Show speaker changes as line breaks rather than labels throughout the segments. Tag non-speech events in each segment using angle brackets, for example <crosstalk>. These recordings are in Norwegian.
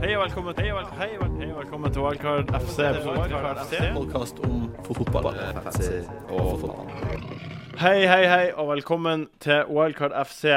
Hei og velkommen til Hei og vel- hei og velkommen til Wildcard FC. Wildcard FC.
podkast om fotball, fantasy og fotball.
Hei, hei, hei og velkommen til Wildcard FC.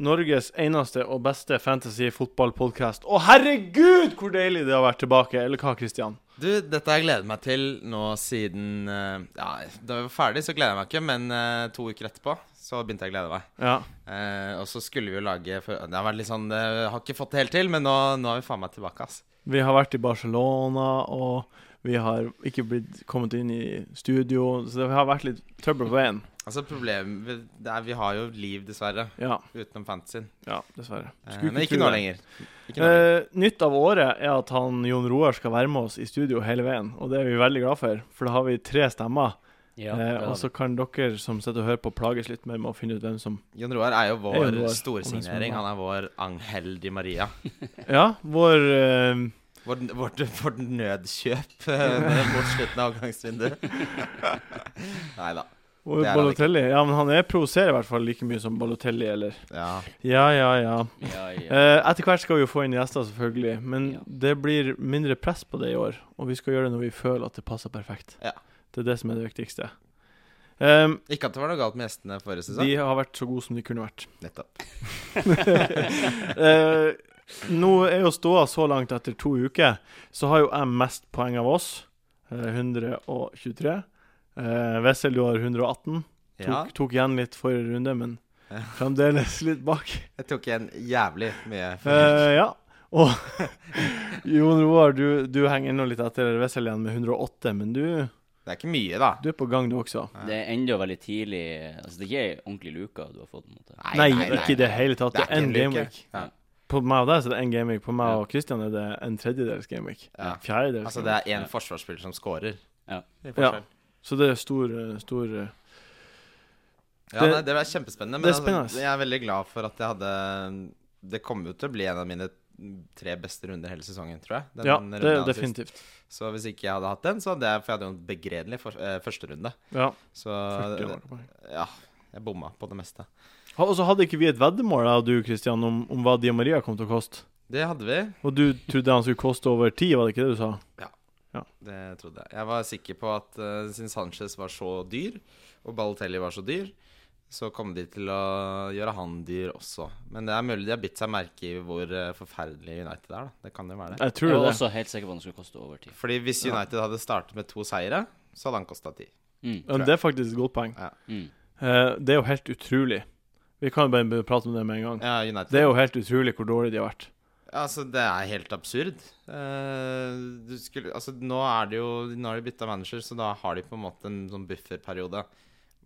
Norges eneste og beste fantasy-fotballpodkast. Å, herregud, hvor deilig det har vært tilbake! Eller hva, Christian?
Du, dette har jeg gledet meg til nå siden eh, Ja, da vi var ferdig, så gleder jeg meg ikke, men eh, to uker etterpå så begynte jeg å glede meg.
Ja.
Eh, og så skulle vi jo lage for, Det har vært litt sånn eh, Har ikke fått det helt til, men nå, nå er vi faen meg tilbake, ass.
Vi har vært i Barcelona, og vi har ikke blitt kommet inn i studio, så det har vært litt trøbbel på veien.
Altså, problemet vi- det er Vi har jo liv, dessverre,
Ja,
utenom fantasyen.
ja dessverre.
Eh,
Skulle
men ikke
tro
nå
det.
lenger. Ikke nå lenger.
Eh, nytt av året er at han, Jon Roar skal være med oss i studio hele veien, og det er vi veldig glad for. For da har vi tre stemmer,
Ja,
eh,
det
og
har
så kan dere som sitter og hører på, plages litt mer med å finne ut hvem som
Jon Roar er jo
Eh, Jon
vår
Roar, om det som er
storsignering.
bra.
Han er vår Angel Di Maria.
Ja, vår eh,
Vårt, vårt, vårt nødkjøp eh, <laughs> mot slutten
<laughs>
av avgangsvinduet. Nei da.
vår
Det er han
Balotelli. Ja, men han er provoserer i hvert fall like mye som Balotelli, eller
Ja.
Ja, ja, ja.
vi. ja, ja.
Eh, etter hvert skal vi jo få inn gjester, selvfølgelig, men
Ja.
det blir mindre press på det i år. Og vi skal gjøre det når vi føler at det passer perfekt.
Ja.
Det er det som er det viktigste. Eh,
Ikke at det var noe galt med gjestene forrige sesong.
de har vært så gode som de kunne vært.
Nettopp.
<laughs> Eh, nå er jo ståa så langt etter to uker, så har jo jeg mest poeng av oss. eh, 123. Uh, Wessel, du har 118. Tok,
Ja,
tok igjen litt forrige runde, men <laughs>
Ja.
fremdeles litt bak. <laughs>
jeg tok igjen jævlig mye.
Eh, ja. Og <laughs> Jon Roar, du, du henger ennå litt etter Wessel igjen med 108, men du,
Det er ikke mye, da.
du er på gang, du også.
Det er enda veldig tidlig Altså, det er ikke ei ordentlig luka du har fått. på en måte
Nei, ikke i det hele tatt. Det er én
luke.
gameweek.
Ja.
På meg og deg så er det én gameweek. På meg
Ja.
og Christian er det en tredjedels gameweek.
Ja.
Fjerdedels.
Altså,
gameweek.
det er én forsvarsspiller som scorer.
Ja.
Det er
Ja.
forskjell.
Så det er stor, eh, stor eh,
ja,
Det-
nei, det er kjempespennende. Men
det er spennende.
Altså, jeg er veldig glad for at jeg hadde Det kommer jo til å bli en av mine tre beste runder hele sesongen, tror jeg. Den
Ja,
runden
det er
jeg hadde sist.
definitivt.
Så hvis ikke jeg hadde hatt den, så hadde jeg For jeg hadde jo en begredelig for, eh, førsterunde.
Ja,
Så
40 var det bare.
ja, jeg bomma på det meste.
Ha- Og så hadde ikke vi et veddemål, jeg og du, Christian, om, om hva Dia Maria kom til å koste.
Det hadde vi.
Og du trodde han skulle koste over ti, var det ikke det du sa?
Det trodde jeg. Jeg var sikker på at eh, siden Sanchez var så dyr, og Balotelli var så dyr, så kom de til å gjøre han dyr også. Men det er mulig de har bitt seg merke i hvor eh, forferdelig United er. da Det kan jo være det.
Jeg tror
Jeg var
det.
også helt sikker på at den skulle koste over tid.
Fordi hvis United hadde startet med to seire, så hadde han kosta ti.
Mm.
Men det er faktisk et godt poeng.
Mm.
Eh, det er jo helt utrolig. Vi kan jo bare begynne å prate om det med en gang.
Ja, United
Det er jo helt utrolig hvor dårlig de har vært.
Altså, det er helt absurd. Eh, du skulle, altså, nå er det jo Nå har de bytta manager, så da har de på en måte en sånn bufferperiode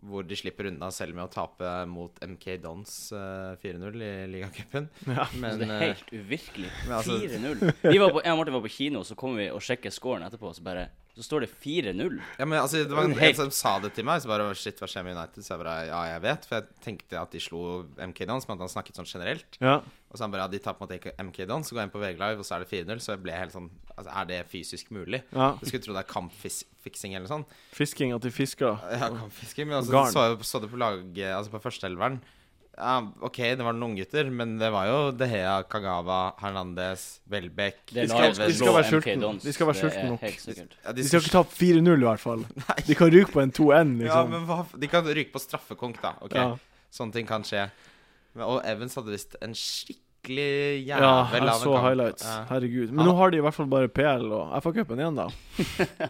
hvor de slipper unna selv med å tape mot MK Dons eh, 4-0 i
<laughs>
ligacupen.
Ja.
Men,
Altså, det er
eh,
helt uvirkelig.
men altså-
4-0. Vi var på- Jeg og Martin var på kino, så kom vi og sjekket scoren etterpå, og så bare Så står det 4-0.
ja, men altså,
<laughs>
det var en
Helt-
helt som sa det til meg. Så bare Shit, hva skjer med United? Så jeg bare Ja, jeg vet. For jeg tenkte at de slo MK Dons, men at han snakket sånn generelt.
Ja.
Og så han bare Ja, de taper mot MK Dons, så går jeg inn på VG Live, og så er det 4-0. Så jeg ble helt sånn Altså, er det fysisk mulig?
ja.
Jeg skulle tro det er kampfiksing eller noe sånt.
Fisking, at de fisker.
Ja, kampfiske, men altså,
garn.
så, så det på laget, altså på førsteelveren. Ja, OK, det var noen unggutter, men det var jo Dehea, Kagawa, Hernandez, Welbeck
Det
De
er
skal-
Larves
de skal
og
være
MK
sulten.
Dons.
De skal være
Det er
sulten nok.
Helt sikkert.
ja,
De skal ikke tape 4-0, i hvert fall. De kan ryke på en 2-1,
Ja,
liksom.
men hva f- De kan ryke på straffekonk, da. OK,
Ja.
sånne ting kan skje. Men, og Evans hadde visst en skikkelig jævel
Ja,
av en
jeg så
kamp.
highlights.
Ja.
Herregud. Men nå har de i hvert fall bare PL og FA-cupen igjen,
<laughs>
da.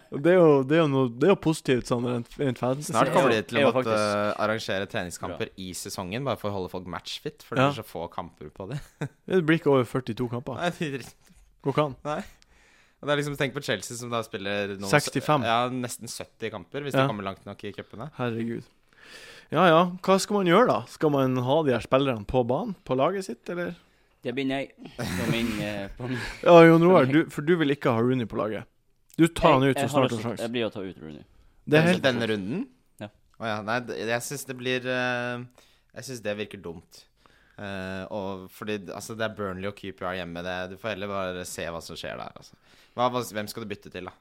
Og Det er jo, det er jo, noe, det er jo positivt sånn rent, rent fantasy.
Snart
er
kommer
jo-
de til
er
å
jo
måtte
faktisk-
arrangere treningskamper i sesongen, bare for å holde folk matchfit, for
Ja.
det er så få kamper på det.
Det blir ikke over 42 kamper.
<laughs> Nei, de driter
Går ikke an.
Og det er liksom, Tenk på Chelsea, som da spiller noen,
65.
Ja, nesten 70 kamper, hvis
Ja.
de kommer langt nok i cupene.
Herregud. Ja ja, hva skal man gjøre da? Skal man ha de her spillerne på banen? På laget sitt, eller?
Det blir nei på min, eh, på min.
Ja, Jon Roar, du, for du vil ikke ha Rooney på laget. Du tar han ut
Jeg
så
har
snart du
også- eh,
har
Jeg
sjanse.
blir å ta ut Rooney.
Det er
Denne-
helt
Denne runden?
Ja.
Å ja. Nei, det- jeg syns det blir eh, Jeg syns det virker dumt. Eh, og fordi altså, det er Burnley og QPR hjemme. Det, du får heller bare se hva som skjer der. Altså. Hva, hva, hvem skal du bytte til, da?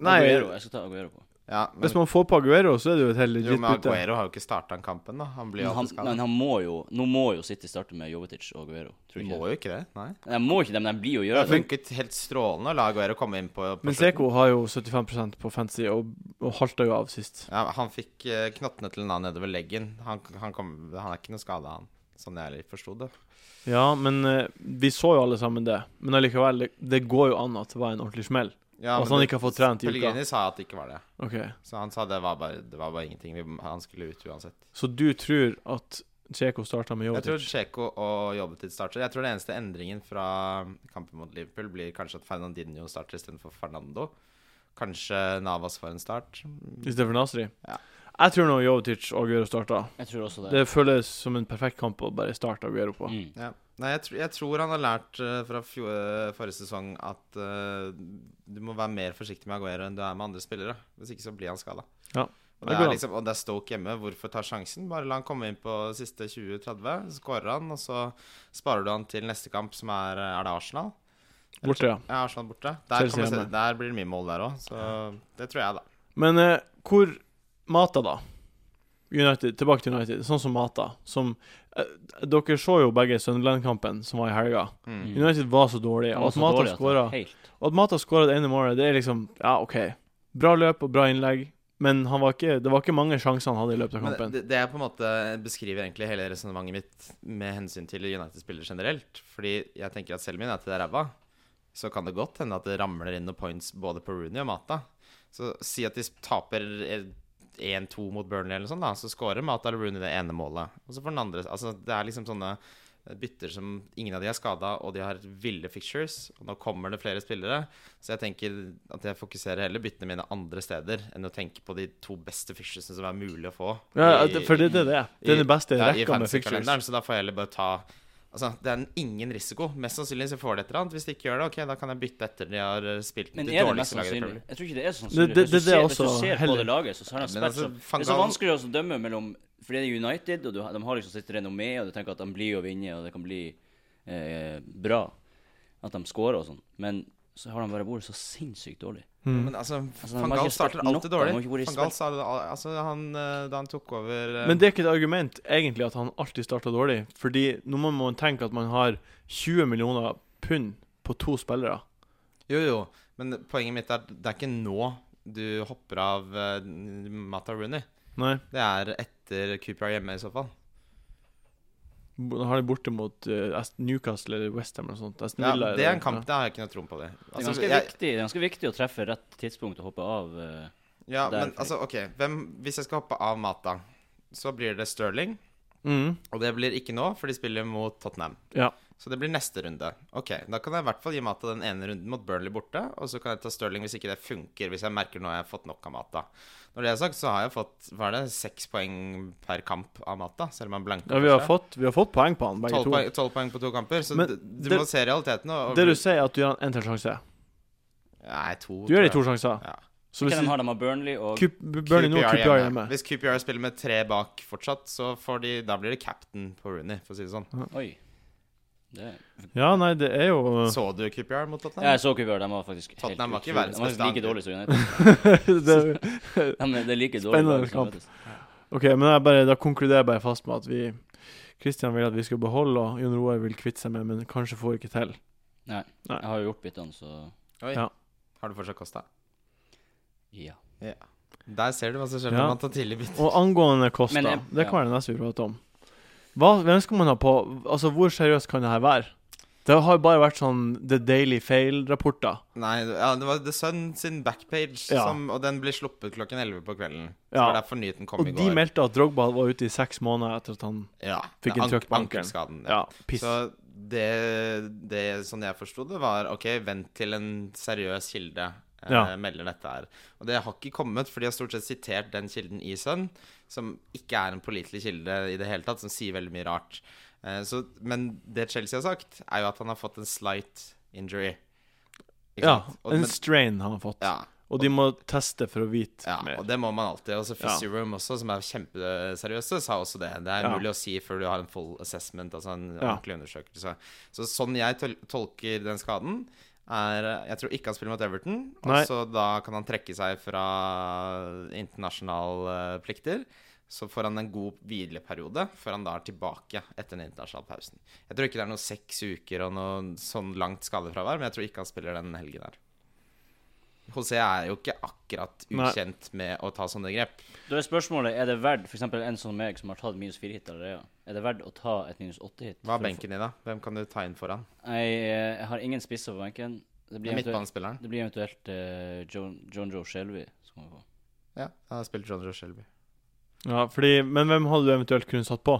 Nei,
Aguero. eh, Jeg skal ta Aguero på.
Ja, men,
Hvis man får på Aguero, så er det jo et helt
jo,
legit
men
bytte.
Aguero har jo ikke starta den kampen, da. Han blir jo
Men han,
alltid
men
skadet.
han må jo Nå må jo City starte med Jovetic og Aguero. Tror du
Han
ikke?
må jo ikke det. Nei.
det? Nei, De må ikke det, men de blir jo å
Det
gjøre
har
det.
funket helt strålende å la Aguero komme inn på, på
Men
slutten.
Seko har jo 75 på fancy og, og halta jo av sist.
Ja, han fikk eh, knottene til Nan nedover leggen. Han, han, kom, han er ikke noe skada, han. Sånn jeg forsto det.
Ja, men eh, vi så jo alle sammen det. Men allikevel, det, det går jo an at det var en ordentlig smell.
Ja,
Altså,
men
han
det-
ikke har fått trent i uka.
Pellegrini sa at det ikke var det.
Ok,
Så han sa det var bare, det var bare ingenting. Vi, han skulle ut uansett.
Så du tror at Cheko starta med
Jeg tror
Jovetic?
Tsjeko og Jobbetid starter. Jeg tror den eneste endringen fra kampen mot Liverpool blir kanskje at Fernandinho starter istedenfor Fernando. Kanskje Navas får en start.
Istedenfor Nasri?
Ja.
Jeg tror nå Jovetic og Aguero starta.
Jeg tror også det.
Det føles som en perfekt kamp å bare starte Aguero på.
Mm.
Ja. Nei, jeg, tr jeg tror han har lært eh, fra fjo eh, forrige sesong at eh, du må være mer forsiktig med Aguero enn du er med andre spillere. Hvis ikke så blir han skada.
Ja, det
Og det,
går
er
an.
liksom, og det er Stoke hjemme. Hvorfor ta sjansen? Bare la han komme inn på siste 20-30, så skårer han, og så sparer du han til neste kamp, som er eh, Er det Arsenal?
Borte, ja.
Ja, Arsenal borte. Der,
Chelsea
kommer,
hjemme.
se- der blir det mye mål der òg, så det tror jeg, da.
Men eh, hvor Mata, da? United, Tilbake til United. Sånn som Mata. Som eh, Dere så jo begge Sunderland-kampen som var i helga.
Mm.
United var så dårlige.
Han
Og at
var så
Mata
dårlig at
skåra
han- Helt.
Og at Mata skåra det ene målet, det er liksom Ja, OK. Bra løp og bra innlegg, men han var ikke, det var ikke mange sjanser han hadde i løpet av
Men
kampen.
det, det er på en måte beskriver egentlig hele resonnementet mitt med hensyn til United-spillere generelt. Fordi jeg tenker at selv om United er ræva, så kan det godt hende at det ramler inn noen points både på Rooney og Mata. Så si at de taper 1-2 mot Burnley eller sånn, da, så scorer Mata eller Rooney det ene målet. Og så får den andre Altså, det er liksom sånne bytter som ingen av de er skada, og de har ville fixtures. Og nå kommer det flere spillere. Så jeg tenker at jeg fokuserer heller byttene mine andre steder enn å tenke på de to beste fixturesene som er mulig å få.
Ja,
i-
det- for det, det er det. Det er den beste i
ja, i
rekka med fixtures.
fantasy-kalenderen, så da får jeg heller bare ta Altså, Det er ingen risiko. Mest sannsynlig så får de et eller annet. Hvis de ikke gjør det, ok, da kan jeg bytte etter de har spilt
Men
de
er det
dårligste
mest
lagene i
sannsynlig?
Premier League.
Jeg tror ikke det er så
Det- det-
sannsynlig. Hvis du
det- det er
ser, hvis du
også
ser på
heller-
det laget, så har han
Men
spilt
altså,
så
Van
Det er så
Gaal-
vanskelig også å dømme mellom For det er United, og du, har- de har liksom sitt renommé, og du tenker at de blir å vinne, og det kan bli eh, bra at de scorer og sånn. Men så har de bare vært så sinnssykt dårlig.
Mm.
Men altså,
de har
Van
ikke
Gaal
spilt
starter
nok,
alltid
da. De har
dårlig.
ikke vært i
Van Gaal sa det al- altså, han, eh, da han tok over eh,
Men det er ikke et argument egentlig at han alltid starta dårlig, fordi nå må man tenke at man har 20 millioner pund på to spillere.
Jo, jo, men poenget mitt er at det er ikke nå du hopper av eh, Mata Rooney.
Nei,
Det er etter Cooper er hjemme, i så fall.
bo- han har det borte mot eh, Ast- Newcastle eller Westham eller noe sånt. Aston
Ja,
Villa
det er
eller-
en kamp, det har jeg ikke noe tro på. det
Det er, ganske
Altså, jeg-
viktig, det er ganske viktig å treffe rett tidspunkt og hoppe av. eh,
Ja,
Det er
men
fake.
altså, ok hvem, Hvis jeg skal hoppe av Mata, så blir det Sterling.
Mm,
Og det blir ikke nå, for de spiller mot Tottenham.
ja.
Så det blir neste runde. Ok, Da kan jeg i hvert fall gi Mata den ene runden mot Burnley borte. Og så kan jeg ta Sterling hvis ikke det funker, hvis jeg merker nå har jeg fått nok av Mata. Når det er sagt, så har jeg fått hva er det, seks poeng per kamp av Mata. Selv om han blanker.
ja vi, har fått, vi har fått poeng på han, begge
Tolv
to.
poeng, 12 poeng på to kamper, så
Men
d- du
det-
må se realiteten. Og, og
Det du sier, er at du gjør han en til sjanse.
Nei, to.
Du gjør de
tror
to
jeg.
sjanser.
Ja.
Så hvis
Hvem de
du
har de? har Burnley og
Kup- Burnley nå,
QPR
QPR hjemme.
Hvis QPR spiller med tre bak fortsatt, så får de, da blir det captain på Rooney, for å si det sånn.
Oi. Det,
Ja, nei, det er <laughs> jo
Så du QPR mot
ja,
Tottenham?
jeg så Cooper, de var faktisk helt
Tottenham var ikke
utrolig.
verdens
De var
beste
like
angrep.
dårlige som United.
det,
De, er- det er like dårlig
Spennende
lag liksom, som
kamp.
United.
OK, men jeg bare, da konkluderer jeg bare fast med at vi Kristian vil at vi skal beholde, og Jon Roar vil kvitte seg med, men kanskje får ikke til.
Nei.
Nei.
Jeg har jo gjort byttene, så
Oi.
Ja.
Har du fortsatt kosta?
ja.
Der ser du hva som skjer
Ja.
når man tar tidlig bytte.
Og angående Kosta,
eh,
Men jeg-
det kan være det neste vi prater om. Hva, hvem skal man ha på Altså, hvor seriøst kan det her være? Det har bare vært sånn The Daily Fail-rapporter.
Nei, ja, det var The Sun sin backpage,
Ja.
som, og den blir sluppet klokken 11 på kvelden. Så
Ja.
var derfor nyheten kom
Og
i
de
går.
meldte at Drogba var ute i seks måneder etter at han
ja,
fikk
det er
en trøkk på ankelen.
ankelskaden, ja.
Ja, piss.
Så det, det sånn jeg forsto det, var OK, vent til en seriøs kilde eh,
Ja.
melder dette her. Og det har ikke kommet, for de har stort sett sitert den kilden i Sun, som ikke er en pålitelig kilde i det hele tatt, som sier veldig mye rart. Eh, så, men det Chelsea har sagt, er jo at han har fått en slight injury. Ikke
ja,
sant? Og,
en
men,
strain har han fått.
ja,
Og de må teste for å vite
ja,
mer.
og det må man alltid. Og så
Ja.
Fizzy Room også, som er kjempeseriøse, sa også det. Det er
Ja.
mulig å si før du har en full assessment, altså en
Ja.
ordentlig undersøkelse. Så sånn jeg tol tolker den skaden, er Jeg tror ikke han spiller mot Everton. Og
Nei.
så da kan han trekke seg fra internasjonale eh, plikter. Så får han en god hvileperiode før han da er tilbake etter den internasjonale pausen. Jeg tror ikke det er noe seks uker og noe sånn langt skadefravær, men jeg tror ikke han spiller den helgen her. José er jo ikke akkurat
Nei.
ukjent med å ta sånne grep.
Da er spørsmålet er det verdt f.eks. en som meg, som har tatt minus fire hit allerede, er det verdt å ta et minus åtte hit?
Hva
For å
er benken i da? Hvem kan du ta inn foran?
få- Jeg, eh, jeg har ingen spisser på benken. Det blir eventuelt,
Midtbanespilleren?
det blir eventuelt eh, John, John Joe Shelby som kommer på.
Ja, han har spilt John Joe Shelby.
Ja, fordi, men hvem hadde du eventuelt kunne satt på?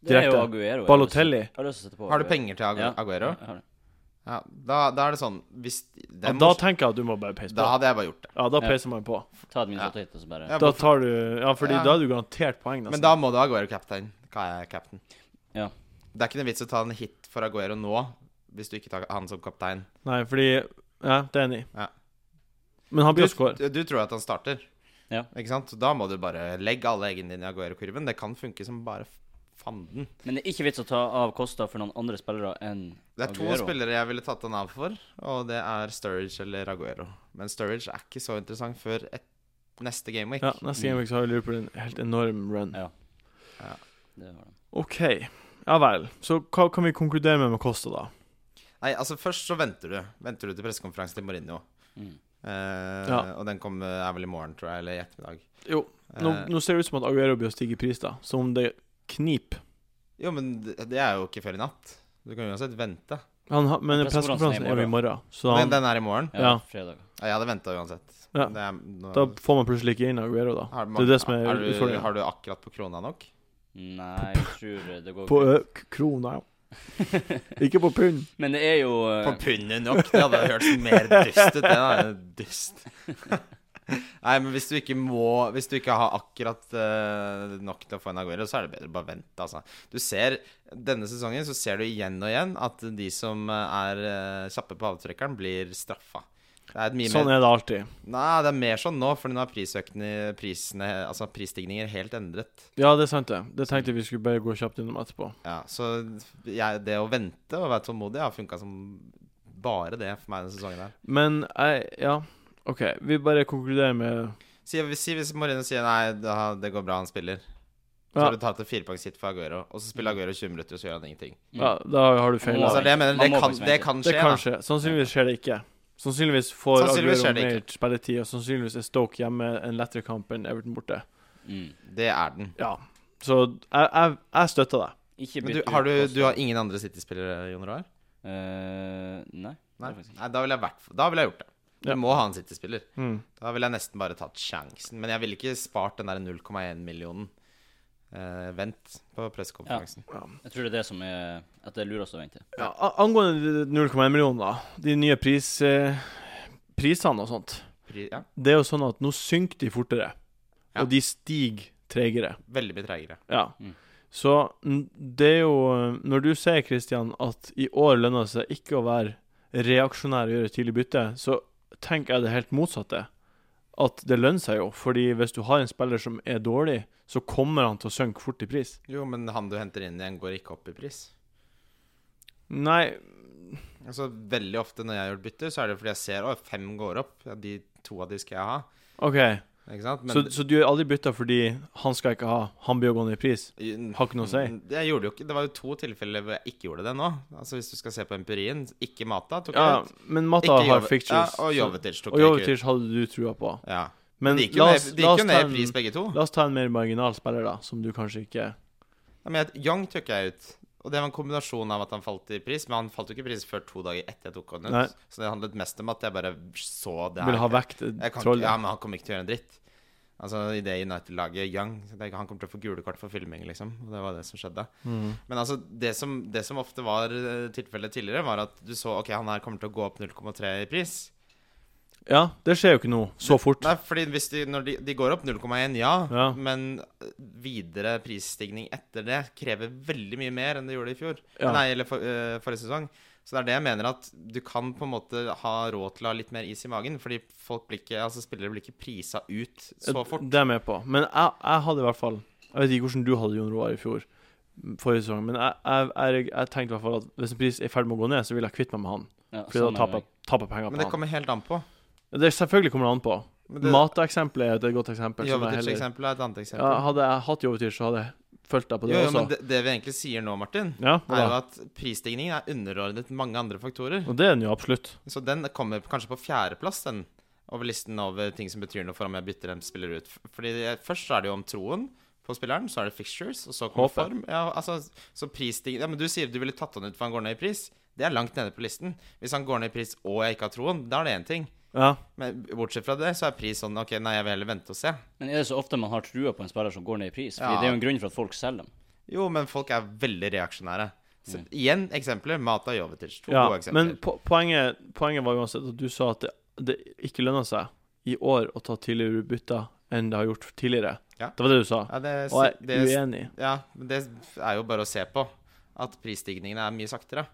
Det er jo
Direkte.
Aguero. jeg har lyst til-
Balotelli?
Jeg har lyst til å sette på
Har du
Aguero.
penger til Agu-
Ja,
Aguero?
jeg har det.
Ja, da, da er det sånn Hvis det
Ja,
er
da
morsomt,
tenker jeg at du må bare peise på.
da hadde jeg bare gjort det.
Ja, da
Ja.
peiser man på.
Ta et minus
Ja.
åtte hit, og så bare
Ja,
Da
hvorfor-
tar du Ja, fordi
Ja.
da er du garantert poeng, nesten.
men da må du ha Aguero captain. Hva er captain?
Ja.
Det er ikke noe vits å ta en hit for Aguero nå, hvis du ikke tar han som kaptein.
Nei, fordi Ja, det er enig.
Ja.
Men han
Du,
blir å score.
du tror at han starter,
Ja.
ikke sant? Da må du bare legge alle eggene dine i Aguero-kurven. Det kan funke som bare f- fanden.
Men det er ikke vits å ta av Kosta for noen andre spillere enn
Det er to
Aguero.
spillere jeg ville tatt han av for, og det er Sturridge eller Aguero. Men Sturridge er ikke så interessant før et, neste game week.
Ja, neste game week så har Liverpool en helt enorm run.
Ja.
Ja.
Det var det.
OK. Ja vel. Så hva kan vi konkludere med med Costa, da?
Nei, altså først så venter du. Venter du til pressekonferansen til Mourinho.
Mm.
Eh,
Ja.
Og den kom, eh, er vel i morgen, tror jeg, eller i ettermiddag.
Jo,
Eh,
nå, nå ser det ut som at Aguero blir å stige i pris, da. Som om det kniper.
Jo, men det det er jo ikke før i natt. Du kan uansett vente.
Han har- Men
Pressekonferansen
pressekonferansen
er i
er jo i morgen, så
Den,
han,
den er i morgen.
Ja,
Ja.
fredag.
Ja, jeg hadde venta uansett.
Ja.
Det er, nå,
da får man plutselig ikke inn Aguero, da.
har
det er det som er
har du,
utfordringen.
Har du akkurat på krona nok?
Nei, jeg tror det går
På
greit.
ø k- <laughs> krona. Ikke på pund.
Men det er jo eh,
På pundet nok? Det hadde hørtes mer dust ut. Det er dust. <laughs> Nei, men hvis du ikke må Hvis du ikke har akkurat eh, nok til å få en Aguero, så er det bedre å bare vente, altså. Du ser Denne sesongen så ser du igjen og igjen at de som er eh, kjappe på avtrekkeren, blir straffa. Det er et mye
Sånn
mer
er det alltid.
Nei, det er mer sånn nå, for nå er prisøkende, prisene, altså prisstigninger helt endret.
Ja, det er sant, det. Det tenkte jeg vi skulle bare gå kjapt innom etterpå.
Ja, så jeg, det å vente og være tålmodig har funka som bare det for meg denne sesongen her.
Men jeg Ja, OK. Vi bare konkluderer med
Si, si hvis Mourinho sier nei, da, det går bra, han spiller. Så
Ja.
har du tatt et firepoengshit for Aguero, og så spiller Aguero 20 minutter, og så gjør han ingenting.
mm,
Ja, da har du feila.
Man
Altså,
må
det, jeg mener,
Man
det,
må
kan,
faktisk
det
vente.
kan skje.
Det kan
da.
skje. Sannsynligvis skjer det ikke. Sannsynligvis får
Sannsynligvis skjer
Aguero
det
mer spilletid, og sannsynligvis er Stoke hjemme en lettere kamp enn Everton borte.
mm.
Det er den.
Ja. Så jeg, jeg, jeg støtter deg.
Ikke
Men du
bytt ut
har, du,
Costa.
du har ingen andre City-spillere, Jon Roar?
Eh,
Nei.
nei. Det er faktisk ikke.
nei da ville jeg, vært- da ville jeg gjort det. Du
Ja.
må ha en City-spiller.
Mm.
Da ville jeg nesten bare tatt sjansen. Men jeg ville ikke spart den der 0,1 millionen. Eh, vent på pressekonferansen.
Jeg tror det er det som er At det er lurest å vente.
Ja, a- angående de 0,1 millioner, da. De nye pris, eh, prisene og sånt.
Pri- Ja.
Det er jo sånn at nå synker de fortere,
Ja.
og de stiger tregere.
Veldig mye treigere.
Ja.
Mm.
Så n- det er jo eh, Når du sier, Kristian, at i år lønner det seg ikke å være reaksjonær og gjøre tidlig bytte, så tenker jeg det helt motsatte. At det lønner seg jo, fordi hvis du har en spiller som er dårlig, så kommer han til å synke fort i pris.
Jo, men han du henter inn igjen, går ikke opp i pris.
Nei,
Altså, Veldig ofte når jeg gjør bytter, så er det fordi jeg ser at fem går opp. Ja, de to av de skal jeg ha.
OK.
Ikke sant? Men
så, så du gjør aldri bytter fordi han skal ikke ha, han blir jo gående i pris? Har ikke noe å si?
Mm, Jeg gjorde jo ikke, Det var jo to tilfeller hvor jeg ikke gjorde det nå. Altså Hvis du skal se på empirien. Ikke Mata tok
Ja,
jeg ut.
men Mata
Ikke
har
Jove-
fictures.
Ja, og
så-
Jovetic tok
og
jeg ikke ut.
Jovetic hadde du trua på.
Ja.
Men
de gikk jo
la
ned,
oss,
de
la
gikk
oss,
jo
ta,
ned i pris,
en,
begge to.
la oss ta en mer marginal spiller, da, som du kanskje ikke
Ja, men jeg, Young tok jeg ut. Og det var en kombinasjon av at han falt i pris, men han falt jo ikke i pris før to dager etter jeg tok han ut.
Nei.
Så det handlet mest om at jeg bare så det her.
vil ha vekk det
jeg kan ikke, ja,
trollet.
men han kommer ikke til å gjøre en dritt. Altså, I det United-laget, Young det er ikke- Han kommer til å få gule kort for filming, liksom. Og det var det som skjedde.
Mm.
Men altså, det som, det som ofte var eh, tilfellet tidligere, var at du så ok, han her kommer til å gå opp 0,3 i pris.
Ja, det skjer jo ikke nå, så fort.
Nei, fordi hvis de, når de, de går opp 0,1, ja,
Ja.
men eh, videre prisstigning etter det krever veldig mye mer enn det gjorde i fjor.
Ja.
Nei, eller for, eh, forrige sesong. Så det er det jeg mener at du kan på en måte ha råd til å ha litt mer is i magen, fordi folk blir ikke, altså spillere blir ikke prisa ut så fort.
Eh, Det er jeg med på. Men jeg, jeg hadde i hvert fall Jeg vet ikke hvordan du hadde Jon Roar i fjor. forrige sesong, men jeg, jeg, jeg, jeg tenkte i hvert fall at hvis en pris er i ferd med å gå ned, så vil jeg kvitte meg med han.
Ja,
Fordi
sånn er
da taper
det.
jeg- taper jeg penger
Men
på
det
han.
kommer helt an på.
Det er selvfølgelig kommer det an på.
Men det-
Mateeksempelet er et godt eksempel. som jeg heller-
Jovetic-eksempelet er et annet
ja,
eksempel.
hadde jeg hatt Jovetic, så hadde jeg fulgt deg på det
jo, jo,
også.
men det, det vi egentlig sier nå, Martin,
ja,
er jo
da.
at prisstigningen er underordnet mange andre faktorer.
Og det er den jo absolutt.
Så den kommer kanskje på fjerdeplass, den, over listen over ting som betyr noe for om jeg bytter en spiller ut. Fordi det- først så er det jo om troen på spilleren, så er det fixtures, og så kommer
Håpet.
form. Ja, altså, så prisstigning Ja, men du sier du ville tatt han ut for han går ned i pris. Det er langt nede på listen. Hvis han går ned i pris og jeg ikke har troen, da er det én ting.
Ja.
Men bortsett fra det, så er pris sånn OK, nei, jeg vil heller vente og se.
Men er det så ofte man har trua på en spiller som går ned i pris? Fordi
Ja.
det er jo en grunn for at folk selger dem.
Jo, men folk er veldig reaksjonære. Så, Igjen eksempler. Mata Jovetic. To
Mm. ja.
gode eksempler.
Men po poenget, poenget var uansett at du sa at det, det ikke lønna seg i år å ta tidligere bytter enn det har gjort tidligere.
Ja.
Det var det du sa.
ja, det,
Og jeg
det,
er uenig.
ja, men det er jo bare å se på at prisstigningene er mye saktere.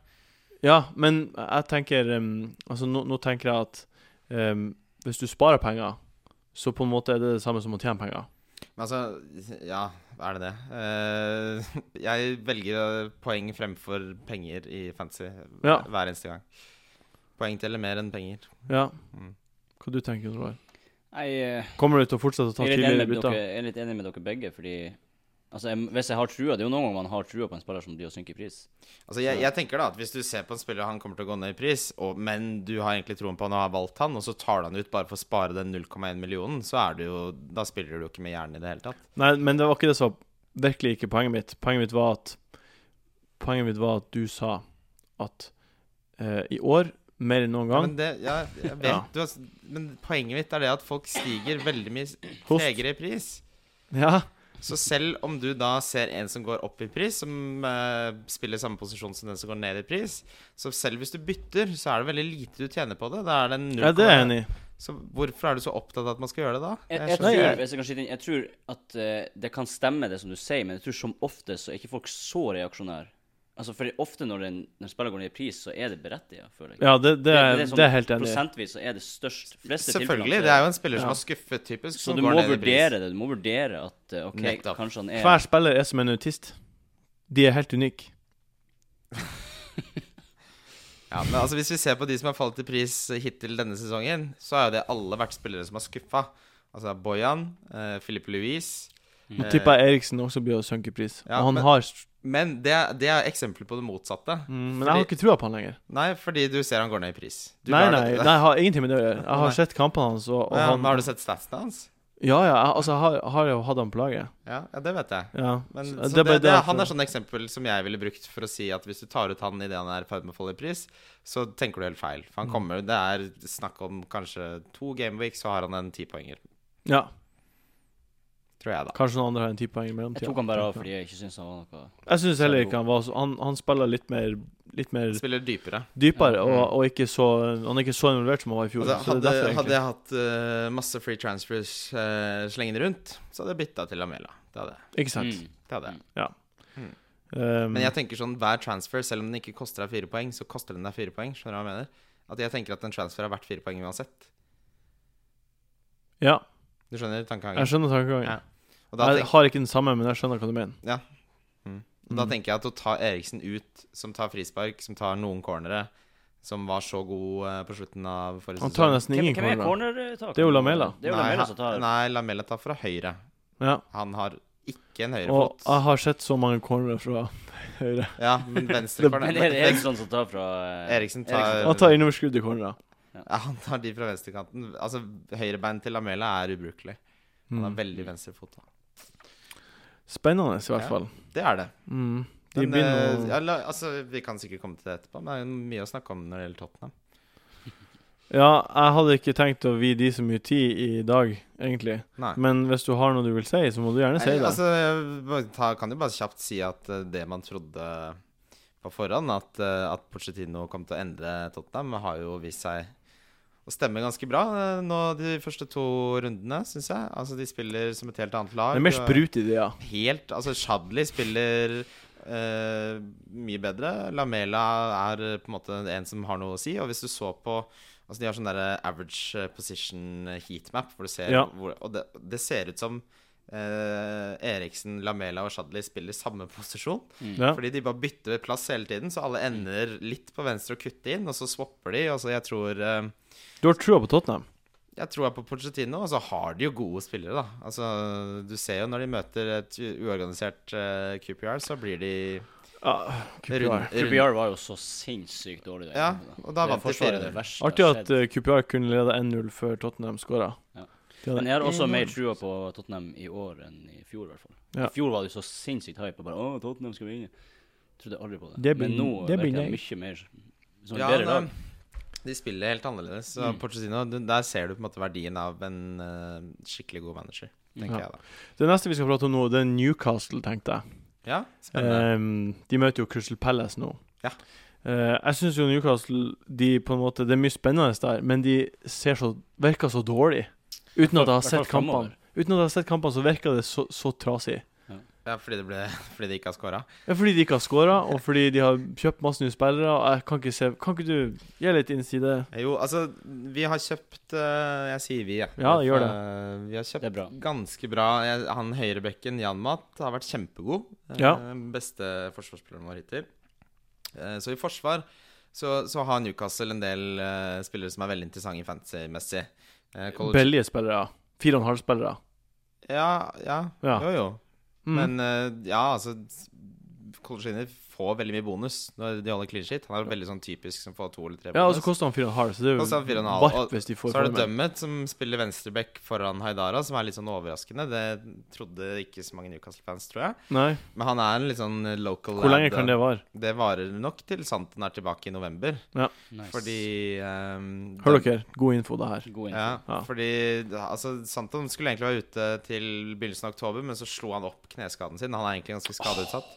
Ja, men jeg tenker em, Altså, nå, nå tenker jeg at em, hvis du sparer penger, så på en måte er det det samme som å tjene penger.
Men altså, ja, er det det? Eh, <laughs> jeg velger eh, poeng fremfor penger i fantasy
Ja.
hver eneste gang. Poeng teller mer enn penger.
Ja.
Mm.
Hva du tenker du, Roar?
Nei, eh,
Kommer du til å fortsette å ta
jeg er, litt enig
tidligere
med dere,
bytter?
jeg er litt enig med dere begge, fordi Altså, jeg, hvis jeg har trua Det er jo noen ganger man har trua på en spiller som blir å synke i pris.
Altså, jeg, jeg tenker da at Hvis du ser på en spiller han kommer til å gå ned i pris, og, men du har egentlig troen på han og har valgt han, og så tar du han ut bare for å spare den 0,1 millionen, så er du jo Da spiller du jo ikke med hjernen i det hele tatt.
Nei, men det var ikke det som virkelig ikke poenget mitt. Poenget mitt var at Poenget mitt var at du sa at eh, i år, mer enn noen
Ja,
gang
men, det, ja, jeg vet,
Ja.
du, har s- men poenget mitt er det at folk stiger veldig mye s-
Host.
tregere i pris.
Ja,
Så selv om du da ser en som går opp i pris, som eh, spiller samme posisjon som den som går ned i pris, så selv hvis du bytter, så er det veldig lite du tjener på det. Da er det en null
ja det er jeg
komma-
enig i.
Så hvorfor er du så opptatt av at man skal gjøre det da?
Jeg,
Jeg
jeg,
skjønner
tror,
ikke.
hvis jeg, kan skyte inn, jeg tror at eh, det kan stemme, det som du sier, men jeg tror som oftest så er ikke folk så reaksjonære. Altså, for ofte når en, når en spiller går ned i pris, så er det berettiget, føler jeg.
Ja, det, det, er-
sånn
det er jeg helt enig i.
Prosentvis så er det størst. Fleste
Selvfølgelig.
tilfellene så
Det er jo en spiller
Ja.
som har skuffet, typisk.
Så
som
du
går
må
ned i pris.
vurdere det. Du må vurdere at eh, OK,
Nettopp.
kanskje han er
Hver spiller er som en autist. De er helt unike.
Ja, men altså Hvis vi ser på de som har falt i pris hittil denne sesongen, så har jo det alle vært spillere som har skuffa. Altså Bojan, eh, Philippe Louise
Nå tipper jeg Eriksen også blir å synke i pris.
Ja,
og han
men-
har s-
Men det, er- det er eksempler på det motsatte.
mm, Men jeg har ikke trua på han lenger.
Nei, fordi du ser han går ned i pris. Du
Nei,
lar
nei, nei,
det-
jeg har ingenting med det å gjøre. Jeg
Nei.
har sett kampene hans, og, og
ja,
han
men Har du sett statsene hans?
Ja, ja, jeg, altså, jeg har, har jo hatt han på laget.
Ja, ja det vet jeg.
Ja.
Men,
Så
så
det er
det,
bare
det,
det at-
han er sånn eksempel som jeg ville brukt for å si at hvis du tar ut han idet han er i ferd med å falle i pris, så tenker du helt feil. For han
Mm.
kommer, Det er snakk om kanskje to gameweeks, så har han en tipoenger.
ja.
Tror jeg, da.
Kanskje noen andre har en ti poeng i mellomtida.
Jeg tok han bare av fordi jeg ikke syntes han var noe
Jeg syns heller ikke han var så Han, han spiller litt mer Litt mer
Spiller dypere.
dypere,
Ja. Mm.
og, og ikke så Han er ikke så involvert som han var i fjor.
Altså,
så det
hadde,
er derfor
hadde
egentlig
jeg hatt eh, masse free transfers uh, slengende rundt, så hadde jeg bytta til Lamela. Det hadde jeg.
Ikke sant.
Mm.
Det hadde jeg.
Um,
Mm. Men jeg tenker sånn, hver transfer, selv om den ikke koster deg fire poeng, så koster den deg fire poeng. Skjønner du hva jeg mener? At jeg tenker at en transfer er verdt fire poeng uansett.
ja,
Du skjønner tankegangen?
jeg skjønner tankegangen.
Ja. Og da,
jeg
tenk,
har ikke den samme, men jeg skjønner hva du mener.
og
Mm.
da tenker jeg at å ta Eriksen ut, som tar frispark, som tar noen cornere, som var så god eh, på slutten av forrige
Han tar
sesong
nesten ingen corner.
cornertak?
Det er jo Lamela.
Det er jo Lamela som
han-
tar
nei, Lamela tar fra høyre.
Ja.
Han har ikke en
Og
høyrefot.
jeg har sett så mange cornere fra <laughs> høyre.
Ja,
<laughs>
men venstre corner
Men er det Eriksson som tar fra eh,
Eriksen tar,
Han tar innoverskudd i cornere.
ja, han tar de fra venstrekanten. Altså, høyrebeinet til Lamela er ubrukelig. Han
Mm.
har veldig venstrefot.
Spennende, i
Ja.
hvert fall.
Det er det.
Mm. De
Men,
begynner
eh,
å
ja, la, altså, vi kan sikkert komme til det etterpå, men det er jo mye å snakke om når det gjelder Tottenham.
Ja, jeg hadde ikke tenkt å vie de så mye tid i dag, egentlig.
Nei.
Men hvis du har noe du vil si, så må du gjerne si
Nei,
det.
altså, jeg bare ta, kan jo bare kjapt si at eh, det man trodde på forhånd, at, eh, at Pochettino kom til å endre Tottenham, har jo vist seg å stemme ganske bra eh, nå de første to rundene, syns jeg. Altså, de spiller som et helt annet lag.
det er mer
og-
sprut i det, ja.
helt Altså, Shadley spiller eh, mye bedre. Lamela er eh, på en måte en som har noe å si. Og hvis du så på Altså, de har sånn derre average eh, position eh, heatmap, hvor du ser
Ja.
hvor, Og det, det ser ut som eh, eh, Eriksen, Lamela og Shadley spiller samme <laughs> posisjon.
Ja.
Fordi de bare bytter plass hele tiden, så alle ender litt på venstre og kutter inn, og så swapper de. Altså, jeg tror eh,
Du har trua på Tottenham.
jeg tror jeg på Pochettino, og så har de jo gode spillere, da. Altså, du ser jo når de møter et u- uorganisert eh, QPR, så blir de
Ja,
Rund-
QPR.
rund-
QPR var jo så sinnssykt dårlig. der.
Ja, og da
Det
vant de
forsvaret er det
4-0.
verste
Artig
jeg har
at
sett.
eh, QPR kunne lede 1-0 før Tottenham skåra.
Ja.
De
Men
hadde
jeg har også mer trua på Tottenham i år enn i fjor, i hvert fall.
Ja.
I fjor var det så sinnssykt hype. og Bare, å, Tottenham skal vinne. Trodde aldri på det.
Det
Men
begynner-
nå
det
virker de
begynner
mye mer som et
Ja,
bedre
da,
lag. Mm.
de spiller helt annerledes. Så Pochettino, du- der ser du på en måte verdien av en eh, skikkelig god manager, tenker
Ja.
jeg da.
Det neste vi skal prate om nå, det er Newcastle, tenkte jeg.
Ja, spennende.
Ehm, de møter jo Crystal Palace nå.
Ja.
Eh, jeg syns jo Newcastle de på en måte, Det er mye spennende der, men de ser så, virker så dårlig. Uten at jeg har
Hvertfall
sett kampene,
fremover.
Uten at jeg har sett kampene så virker det så, så trasig.
ja, fordi, det ble, <laughs> fordi de ikke har scora.
Ja, fordi de ikke har scora, og fordi de har kjøpt masse nye spillere. Og jeg kan ikke se Kan ikke du gi litt innside?
Jo, altså, vi har kjøpt eh, Jeg sier vi, jeg.
Ja, gjør det.
Eh, Vi har kjøpt
Det er bra.
ganske bra. Jeg, han høyrebekken, Janmat, har vært kjempegod. Eh,
Ja.
Ehm,
Beste forsvarsspilleren vår hittil. Eh, Så i forsvar så, så har Newcastle en del eh, spillere som er veldig interessante fantasy-messig. Eh, Colo-
Billige spillere. Fire og en halv spillere.
Ja, ja,
Ja.
Jo, jo.
Mm.
Men eh, ja, altså Colchini får veldig mye bonus når de holder clean sheet. Han er veldig sånn typisk som får to eller tre
ja, og
bonus.
så koster han fire og en halv, så det er jo
Koster han fire og en halv, og
varmt hvis de får
Så er det
formen.
Dømmet som spiller venstreback foran Haidara, som er litt sånn overraskende. Det trodde ikke så mange Newcastle-fans, tror jeg.
Nei.
Men han er en litt sånn local
Hvor lenge
lad.
kan det vare?
Det varer nok til Santen er tilbake i november.
Nice.
Fordi ehm,
Hør
Døm-
dere, god info, det her.
God
Ja,
info.
Ja.
fordi altså, Santon skulle egentlig være ute til begynnelsen av oktober, men så slo han opp kneskaden sin. Han er egentlig ganske skadeutsatt.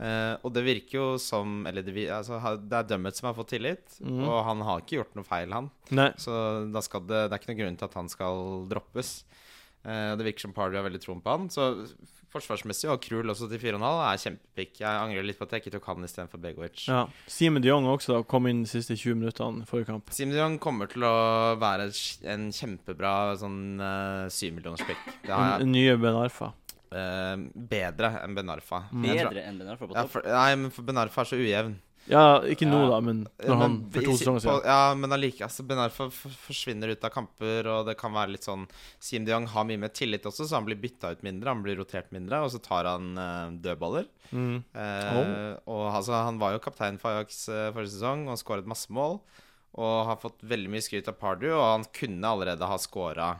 Eh, og det virker jo som Eller det, vi- altså, ha- det er Dømmet som har fått tillit,
Mhm.
og han har ikke gjort noe feil, han.
Nei.
Så da skal det, det er ikke noen grunn til at han skal droppes. Eh, det virker som Pardew har veldig troen på han. Så forsvarsmessig, og Krul også til 4,5, er kjempepick. Jeg angrer litt på at jeg ikke tok han istedenfor Begovic.
Ja. Simen de Jong også da, kom inn de siste 20 minuttene forrige kamp.
Sim Dion kommer til å være en kjempebra sånn syvmillionerspick. Det har jeg.
Den nye Ben Arfa.
Eh, bedre enn Ben Arfa. Jeg tror-
Bedre enn Ben Arfa på
Ja,
topp.
for, nei, men for Ben Arfa er så ujevn.
Ja, ikke nå,
Ja.
da, men
Ja,
når han
men
for
i
to
si-
sesonger
på-
siden.
Ja, men allike, altså, Ben Arfa f- forsvinner ut av kamper, og det kan være litt sånn Sim De Jong har mye mer tillit også, så han blir bytta ut mindre, han blir rotert mindre, og så tar han eh, dødballer.
Mm.
Eh, Og altså, han var jo kaptein for Ajax eh, forrige sesong og skåret masse mål. Og har fått veldig mye skryt av Pardew, og han kunne allerede ha skåra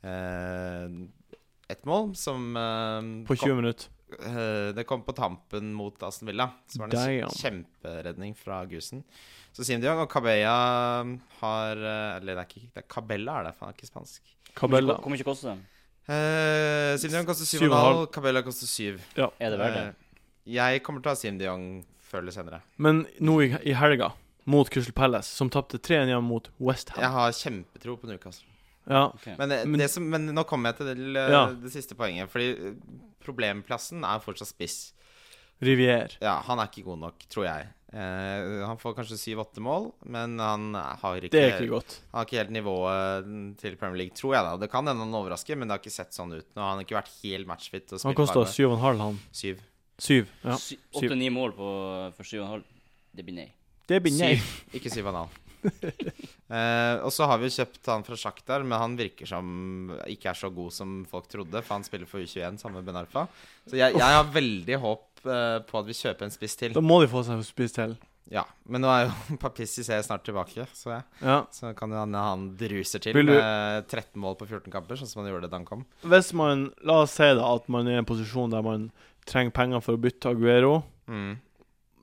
eh, ett mål, som eh,
På 20 minutter.
Eh, Det kom på tampen mot Aston Villa. Så var det en
Damn.
kjemperedning fra Gusen. Så Sim Diong og Cabella har eh, Eller det er ikke det er Cabella er det, for han er ikke spansk.
Cabella.
Hvor mye koster det?
Uh, Sim Diong koster
Syv og en halv.
7,5, Cabella koster 7.
Er det verdt det?
jeg kommer til å ha Sim Diong før eller senere.
Men nå i, i helga, mot Crystal Palace, som tapte 3-1 hjemme mot
Jeg
Westham.
har kjempetro på Newcastle.
Ja.
Ok.
Men, eh,
Men-
det som, men nå kommer jeg til det, eh,
Ja.
det siste poenget. Fordi eh, problemplassen er fortsatt spiss.
Rivier.
Ja, han er ikke god nok, tror jeg. Eh, han får kanskje 7-8 mål, men han har ikke
Det er ikke godt.
Han har ikke helt nivået til Premier League, tror jeg. da Det kan hende han overrasker, men det har ikke sett sånn ut nå. Han har ikke vært helt matchfit. Og
Han
spilt
kosta
bare
7,5, han.
syv.
7. Ja.
Sy-
syv.
Åtte-ni mål på, for syv og en halv. Det blir nei.
Det blir nei.
Syv. Ikke syv og en halv. <laughs> Eh, og så har vi jo kjøpt han fra Shakhtar, men han virker som ikke er så god som folk trodde, for han spiller for U21 sammen med Ben Arfa. Så jeg, jeg har veldig håp eh, på at vi kjøper en spiss til.
Da må de få seg spiss til.
Ja, Men nå er jo <laughs> Papissi ser snart tilbake, så, jeg,
Ja.
så kan jo hende han druser til
Vil du-
med 13 mål på 14 kamper, sånn som han gjorde da han kom.
Hvis man La oss si da at man er i en posisjon der man trenger penger for å bytte Aguero.
Mm.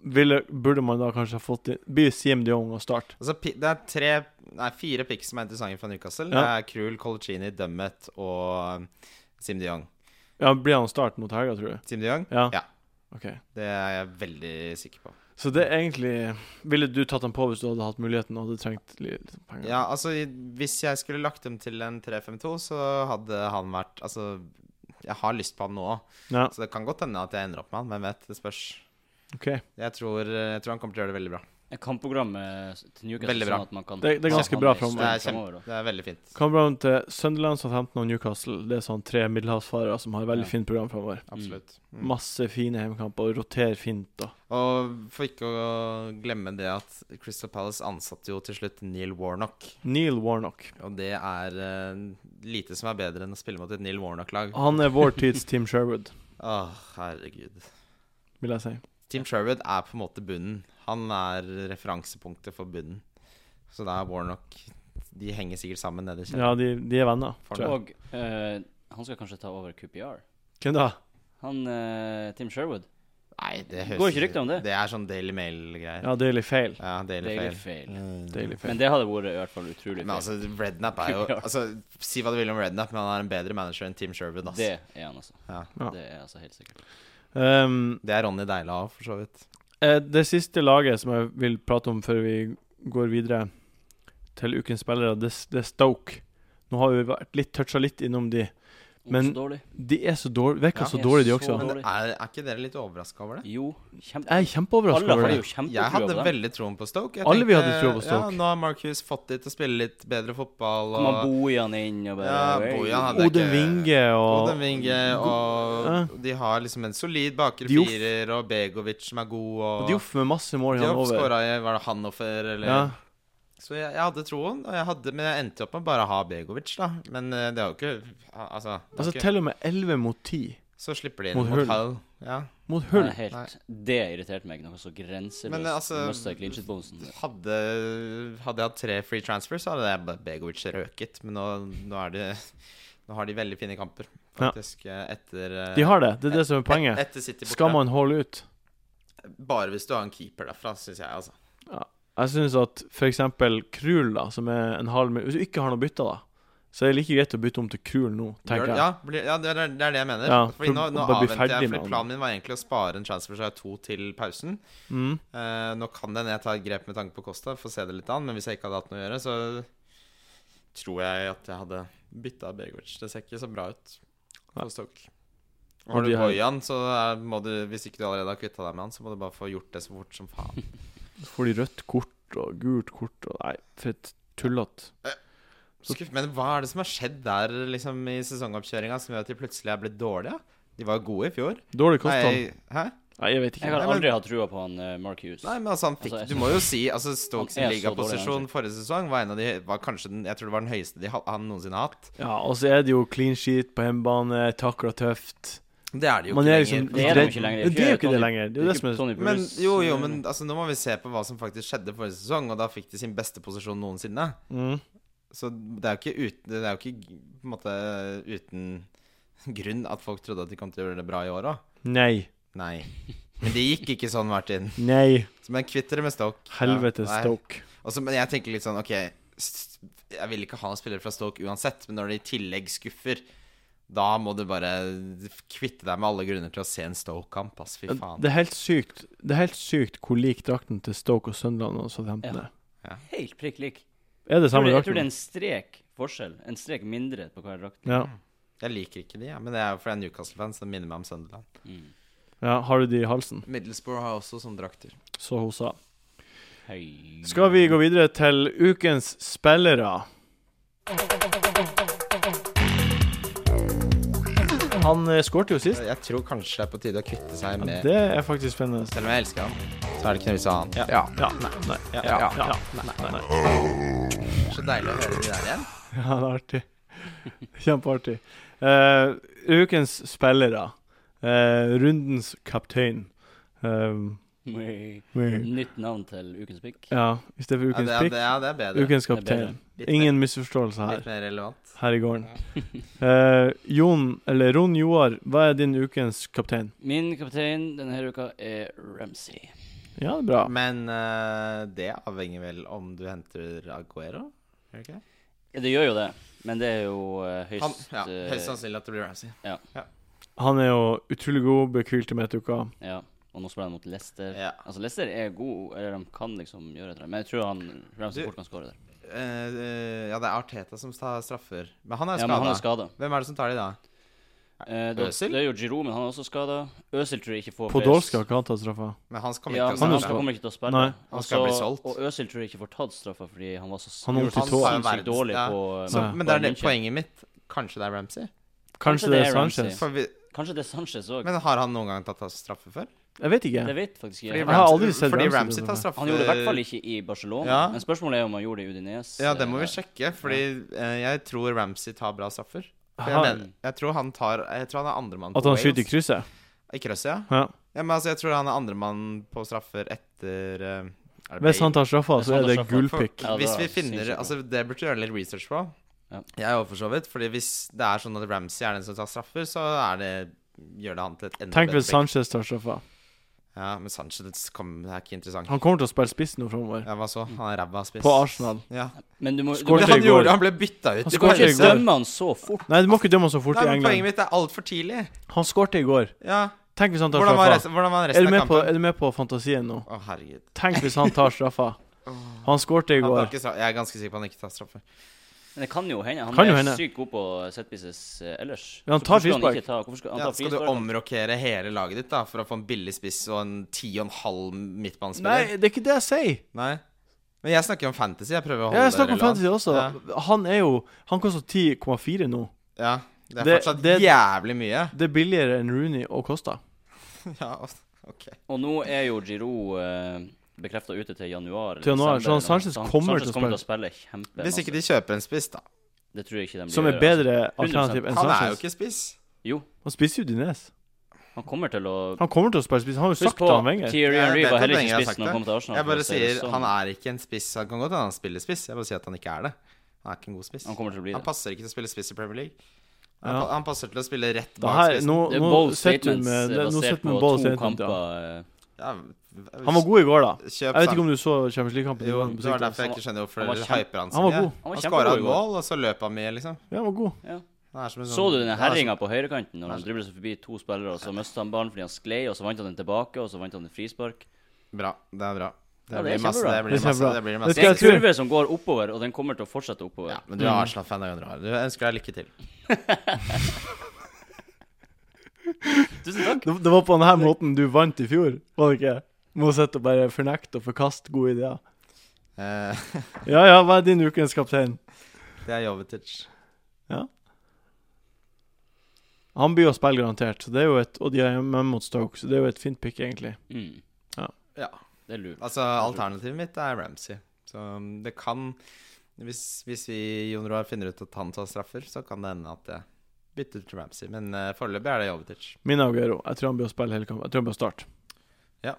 ville, burde man da kanskje ha fått inn By Siem de Jong og start.
Altså, pi- det er tre, nei, fire picks som er interessante fra Newcastle. Det
Ja.
er Krul, Coloccini, Dummet og um, Sim de Jong.
Ja, Blir han start mot helga, tror du?
Sim de Jong?
Ja.
Ja.
Ok.
Det er jeg veldig sikker på.
Så det er egentlig Ville du tatt han på hvis du hadde hatt muligheten og hadde trengt litt penger?
Ja, altså, i- hvis jeg skulle lagt dem til en 3-5-2, så hadde han vært Altså, jeg har lyst på han nå òg,
Ja,
så det kan godt hende at jeg ender opp med han. Hvem vet? Det spørs.
OK.
Jeg tror, jeg tror han kommer til å gjøre det veldig bra.
kampprogrammet til Newcastle.
Veldig bra.
Sånn at man kan
Det- det er ganske
se
bra
framover-
Det er, kjempe,
framover, da.
det er veldig fint.
Kampprogram til Sunderland, Southampton og Newcastle. Det er sånn tre middelhavsfarere som har veldig
Ja.
fint program framover.
Absolutt. Mm.
Masse fine hjemmekamper. Roter fint, da.
Og for ikke å glemme det at Crystal Palace ansatte jo til slutt Neil Warnock.
Neil Warnock.
Og det er eh, lite som er bedre enn å spille mot et Neil Warnock-lag. Åh,
Han er vår tids Team Sherwood,
herregud.
vil jeg si.
Team Sherwood er på en måte bunnen. Han er referansepunktet for bunnen. Så da er Warnock De henger sikkert sammen nede i kjelleren.
Ja, de, de er venner, tror jeg.
Og eh, han skal kanskje ta over QPR.
Hvem da?
Han eh, Tim Sherwood.
Nei, det
Går
høres
ikke rykter om det?
Det er sånn Daily Mail-greier. Ja,
Ja, Daily Fail.
Daily,
Det er
Fail.
litt feil.
Daily Fail.
Men det hadde vært i hvert fall utrolig
Men
feil.
altså, Redknapp er jo
<laughs> Ja.
altså, Si hva du vil om Redknapp, men han er en bedre manager enn Team Sherwood. Altså.
Det er han, altså.
Ja.
Ja.
Det er altså helt sikkert.
Um,
Det er Ronny Deila òg, for så vidt.
eh, det siste laget som jeg vil prate om før vi går videre til ukens spillere, det, s- det er Stoke. Nå har vi vært litt toucha litt innom de. Men-
Så dårlig.
De er så dårlige. Virker
Ja,
så
de er
dårlige, de
så
også.
dårlige.
Men er, er ikke dere litt overraska over det?
Jo, kjempe...
Jeg er kjempeoverraska
Alle
over
hadde
det.
jo kjempetrua
Jeg hadde
på dem.
veldig troen på Stoke. Jeg
Alle vi
tenkte,
hadde troen på
Ja,
Stoke.
nå har Marcus fått de til å spille litt bedre fotball.
Kom han
Og
Bojan inn og bare
Ja,
Hey.
Bojan hadde-
Odin Winge og
Oden Winge, eh, og de har liksom en solid bakre
Diouf.
firer, og Begovic som er god, og
Dioff med masse mål han
Diouf
over.
skåra i var det Hannover, eller
Ja.
Så jeg, jeg hadde troen, og jeg hadde, men jeg endte opp med bare å ha Begovic, da. Men eh, det er jo ikke Altså, det er
Altså
jo ikke.
til og med 11 mot 10.
så slipper de inn
mot
mot
Hull.
Hull. Ja.
Mot
Nei,
hull.
helt, Det irriterte meg noe så grenseløst.
Men,
Men
altså,
altså Mista clean shit-bonusen.
Hadde, hadde jeg hatt tre free transfers, så hadde jeg bare Begovic røket. Men nå, nå er det Nå har de veldig fine kamper,
Ja.
faktisk, eh, etter eh,
De har det. Det er det som er poenget.
Et, etter City borte.
Skal man holde ut?
Bare hvis du har en keeper derfra, syns jeg, altså.
Jeg syns at f.eks. Krul, da, som er en halv mil Hvis du ikke har noe bytte, da, så er det like greit å bytte om til Krul nå,
Gjør
tenker
det-
jeg.
Ja, blir- ja det, er, det er det jeg mener.
Ja,
fordi
for
nå,
å bare
nå
bli
avventer jeg,
ferdig med
fordi
han.
planen min var egentlig å spare en transfer, så jeg har to til pausen.
Mm.
Eh, nå kan det hende jeg tar et grep med tanke på Costa, får se det litt an. Men hvis jeg ikke hadde hatt noe å gjøre, så tror jeg at jeg hadde bytta Begovic. Det ser ikke så bra ut
Nei.
for Stoke.
Og
Har du
de har-
Bojan, så er- må du, hvis ikke du allerede har kvitta deg med han, så må du bare få gjort det så fort
<laughs>
som faen.
Får de rødt kort og gult kort og Nei, for et tullete.
Skuff, men hva er det som har skjedd der liksom, i sesongoppkjøringa som gjør at de plutselig er blitt dårlige? De var gode i fjor.
Dårlig kost han.
Nei, hæ?
Nei, jeg vet
Jeg
ikke.
har
Nei, men-
aldri hatt trua på han eh, Mark Hughes.
Nei, men altså, han fikk
Altså, jeg-
Du må jo si altså Stokes
Han er så
ligaposisjon
dårlig,
forrige sesong var en av de var kanskje den, Jeg tror det var den høyeste de, ha- han noensinne har hatt.
Ja, og så er det jo clean sheet på hjemmebane, takla tøft.
Det er det jo
Man
ikke
er
lenger.
liksom
Det er de jo
litt
ikke lenger. eh,
redd- Det er jo ikke
Tony-
det lenger. Det er jo det som er
Tony Pulis.
Men jo, jo, men altså, nå må vi se på hva som faktisk skjedde forrige sesong, og da fikk de sin beste posisjon noensinne.
mm.
Så det er jo ikke uten Det er jo ikke på en måte uten <laughs> grunn at folk trodde at de kom til å gjøre det bra i år òg.
Nei.
Nei. Men det gikk ikke sånn, Martin.
Nei.
Så men kvitt dere med Stoke.
Helvete,
Ja, nei.
Stoke.
Og så- men jeg tenker litt sånn Ok, s- jeg vil ikke ha en spiller fra Stoke uansett, men når det i tillegg skuffer da må du bare kvitte deg med alle grunner til å se en Stoke-kamp. ass. Fy faen.
Det er helt sykt Det er helt sykt hvor lik drakten til Stoke og Sunderland og Southampton
Ja.
er.
Helt prikk lik.
Er det
Jeg tror
samme
det, jeg tror det er
drakten?
en strek forskjell. En strek mindre på hver drakt.
Ja.
Jeg liker ikke de, ja. men det er jo fordi jeg er Newcastle-fan, så det minner meg om Sunderland.
ja. Har du de i halsen?
Middlesbrough har også sånne drakter.
Så hun sa.
Hei.
Skal vi gå videre til ukens spillere? Han eh, skårte jo sist.
Jeg tror kanskje det er på tide å kvitte seg
Ja,
med
det er faktisk spennende.
Selv om jeg elsker han, så er det ikke noe vits i å ha han.
Ja. ja. Nei. Nei. Ja. Ja. Ja.
Så deilig å høre de der igjen.
<laughs> ja, det er artig. Kjempeartig. Eh, ukens spillere. Eh, rundens kaptein. Eh,
Nytt navn til ukens pick.
ja, i stedet for
Mm. Ja,
ukens
det, er- det,
pikk.
er- det er bedre.
Ukens
Det er bedre.
kaptein.
Litt mer-
Ingen misforståelse her.
Litt mer relevant.
her i gården. <laughs> Eh, Jon, eller Ron Joar, hva er din ukens kaptein?
Min kaptein denne uka er Ramsey.
Ja, det er bra.
Men eh, det avhenger vel om du henter Aguero? Gjør det ikke?
Ja, det gjør jo det, men det er jo eh, høyst
Han, ja,
eh,
Høyst sannsynlig at det blir Ramsey.
Han er jo utrolig god, ble hvilt i midtuka.
ja. Og nå spiller han mot Leicester.
Ja.
Altså, Leicester er god, eller de kan liksom gjøre det, men jeg tror han Ramsey
Du-
fort kan skåre der.
Eh, eh, ja, det er Arteta som tar straffer. Men han er
Ja, men
skada.
han er skada.
Hvem er det som tar de da?
Eh, da,
Øsil?
det er jo Giroud, men han er også skada. Øsil tror jeg ikke får
Podolsk har ikke han tatt straffa.
Men han kommer
Ja,
han er
ikke til å
men han
skadet.
spille.
kommer ikke til å spille.
Nei.
Han skal bli
Også-
solgt.
Og Øsil tror jeg ikke får tatt straffa fordi han var så
Han har vondt i
sinnssykt
tå.
Han sa jo
dårlig
verdens-
på
Så,
Nei.
men det er det
München.
poenget mitt. Kanskje det er Ramsey?
Kanskje det er
Ramsey.
Sanchez?
For vi,
Kanskje det er Sanchez òg.
men har han noen gang tatt straffe før?
Jeg vet ikke.
Jeg vet faktisk
Fordi
ikke.
Jeg har
Ramsey-
aldri sett
fordi
Ramsey
Ramsey
ta
tar
straffe.
straffe.
Han gjorde det i hvert fall ikke i Barcelona.
Ja.
Men spørsmålet er om han gjorde det i Udinese.
Ja, det må vi sjekke, fordi eh, jeg tror Ramsey tar bra straffer. For Jeg,
Har-
mener, jeg tror han tar Jeg tror han er andremann
At han
Wales.
skyter i krysset?
I krysset, ja.
Ja.
ja. Men altså, jeg tror han er andremann på straffer etter eh, er det
Hvis han tar
Bale?
straffa,
Hvis
så
han
er
tar
det
straffa.
gullpick.
Ja, det
Hvis
var
vi finner
sinnssykt bra.
Altså, det burde du gjøre litt research på.
Ja.
Jeg òg, for så vidt. Fordi hvis det er sånn at Ramsey er den som tar straffer, så er det gjør det han til et enda
Tenk hvis
pick.
Sanchez tar straffa.
Ja, men Sanchez kom, det er ikke interessant.
Han kommer til å spille spiss nå framover.
Ja, hva så? Han er ræva spiss.
På Arsenal.
Ja.
Men du må, du må
Skårte
Men
i
han
går.
gjorde det, han ble bytta ut.
Han
i
skårte i
pausen.
ikke
går.
dømme han så fort.
Nei, du må ikke dømme han så fort
Nei,
i
men Poenget
England.
mitt er altfor tidlig.
Han skårte i går.
Ja.
Tenk hvis han tar
Hvordan var
straffa.
resten, hvordan var
Er du
resten
med
av
på,
kampen?
er du med på fantasien nå?
Å, herregud.
Tenk hvis han tar
<laughs>
straffa. Han skårte i
Han tar
går.
ikke straff. Jeg er ganske sikker på at han ikke tar straffe.
Men det kan jo hende. Han
Kan jo
er
hende.
sykt god på setpieces eh, ellers.
Men han
Så
tar
hvorfor skal
frispark.
ikke ta- Hvorfor skal han
Ja,
ta
skal du
frispark?
omrokere hele laget ditt da for å få en billig spiss og en ti og en halv midtbanespiller?
Nei, det er ikke det jeg sier.
Nei. Men jeg snakker om fantasy. Jeg prøver å holde
Jeg snakker om
relevant.
fantasy også. Han er jo Han koster 10,4 nå.
Ja. Det er
Det-
fortsatt
det-
jævlig
<laughs>
mye.
Det er billigere enn Rooney og Costa.
Ja, ok.
Og nå er jo Giroud eh, bekrefta ute til januar. eller
Til januar,
desember
så han Sanchez
eller noe.
kommer til å
kjempe
Hvis ikke de kjøper en spiss, da.
Det altså. tror jeg ikke de blir.
Som er bedre alternativ enn
Han er jo
Sanchez.
ikke spiss.
Jo,
Han spiser jo Dines.
han kommer til å
Han kommer til å spille spiss. Han har jo
Husk
sagt
på,
det, han Wenger.
Thierry
Jeg
Henry
vet
var
at
heller
Wenger
ikke
har
spiss
sagt
når han kom til Arsenal.
Jeg
for å
bare
si det
sier
sånn.
han er ikke en spiss. Han kan godt hende han spiller spiss. Jeg bare sier at han ikke er det. Han er ikke en god spiss.
Han kommer til å bli
Han
det.
passer ikke til å spille spiss i Premier League. Han,
Ja.
pa- han passer til å spille rett
Det
bak
her,
spissen.
nå
Det er
nå
bold
sitter du
statements
med
eh,
det- Nå
basert
sitter du med
på
bold
to
statement,
kamper.
ja.
eh,
Ja,
Han var god i går, da.
Kjøp
Jeg vet ikke
Sam-
om du så Champions League-kampen.
Jo, det var
Han
derfor jeg ikke skjønner hvorfor
Han var
dere
kjempe-
hyper han så
Han var
mye.
god.
Han var
Han skåra
kjempegod i
et
går.
mål, og så løp han mye, liksom.
Ja, han var god.
Ja.
Han er som en
Så du
sånn-
den
Ja, altså,
herringa på høyrekanten når han driblet seg forbi to spillere, og så mistet han ballen fordi han sklei, og så vant han den tilbake, og så vant han en frispark.
Bra. Det er bra. Det,
Ja, det er
blir masse, det
kjempebra.
Det er
blir masse.
kjempebra.
Det blir
Det
masse.
Det er en
tror-
kurve som går oppover, og den kommer til å fortsette oppover.
Ja, men du er
Mm.
Arsenal-fan, det kan du ha. Du jeg ønsker deg lykke til.
Tusen takk.
Det, det var på denne måten du vant i fjor, var det ikke? Med å sitte og bare fornekte og forkaste gode ideer.
Eh, <laughs>
Ja ja, hva er din ukens kaptein?
det er Jovetic.
Han blir å spille garantert, så det er jo et, og de er hjemme mot Stoke, så det er jo et fint pick, egentlig.
Mm.
Ja.
Ja.
Det er lurt.
Altså, alternativet mitt er Ramsey. Så um, det kan Hvis, hvis vi Jon Roar finner ut at han tar straffer, så kan det hende at jeg bytter til Ramsey. Men eh, foreløpig er det Jovetic.
Min Aguero. Jeg tror han blir å spille hele kampen. Jeg tror han blir å starte.
Ja.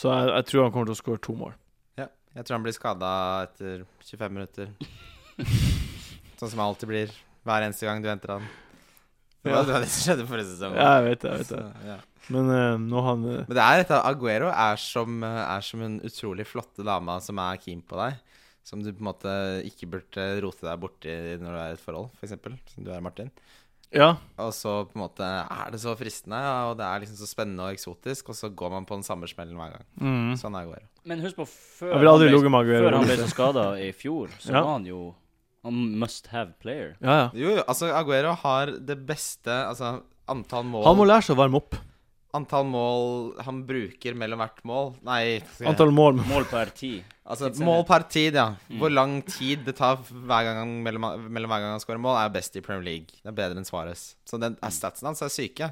Så jeg, jeg tror han kommer til å skåre to mål.
Ja. Jeg tror han blir skada etter 25 minutter.
<laughs>
sånn som han alltid blir hver eneste gang du henter han. Det
Ja.
var det var det som skjedde forrige sesong.
Ja, jeg vet det, jeg vet det.
Så, ja.
Men eh, nå han eh,
Men det er dette Aguero er som, er som en utrolig flotte dame som er keen på deg. Som du på en måte ikke burde rote deg borti når du er i et forhold, f.eks. Som du er, Martin.
Ja.
Og så på en måte er det så fristende, og det er liksom så spennende og eksotisk, og så går man på den samme smellen hver gang.
Mm.
Sånn er Aguero.
Men husk på, før
Jeg ville aldri
han ble-
ligget med Aguero.
før han ble så skada i fjor, så
Ja.
var han jo han must have player.
Ja, ja.
Jo, jo, altså Aguero har det beste Altså antall mål
Han må lære seg å varme opp.
Antall mål han bruker mellom hvert mål Nei,
Antall mål.
Mål per ti.
altså mål per tid, ja.
Mm.
Hvor lang tid det tar hver gang han, mellom, mellom hver gang han scorer mål, er best i Premier League. Det er bedre enn Suarez. Så den,
Mm.
statsen hans er syke.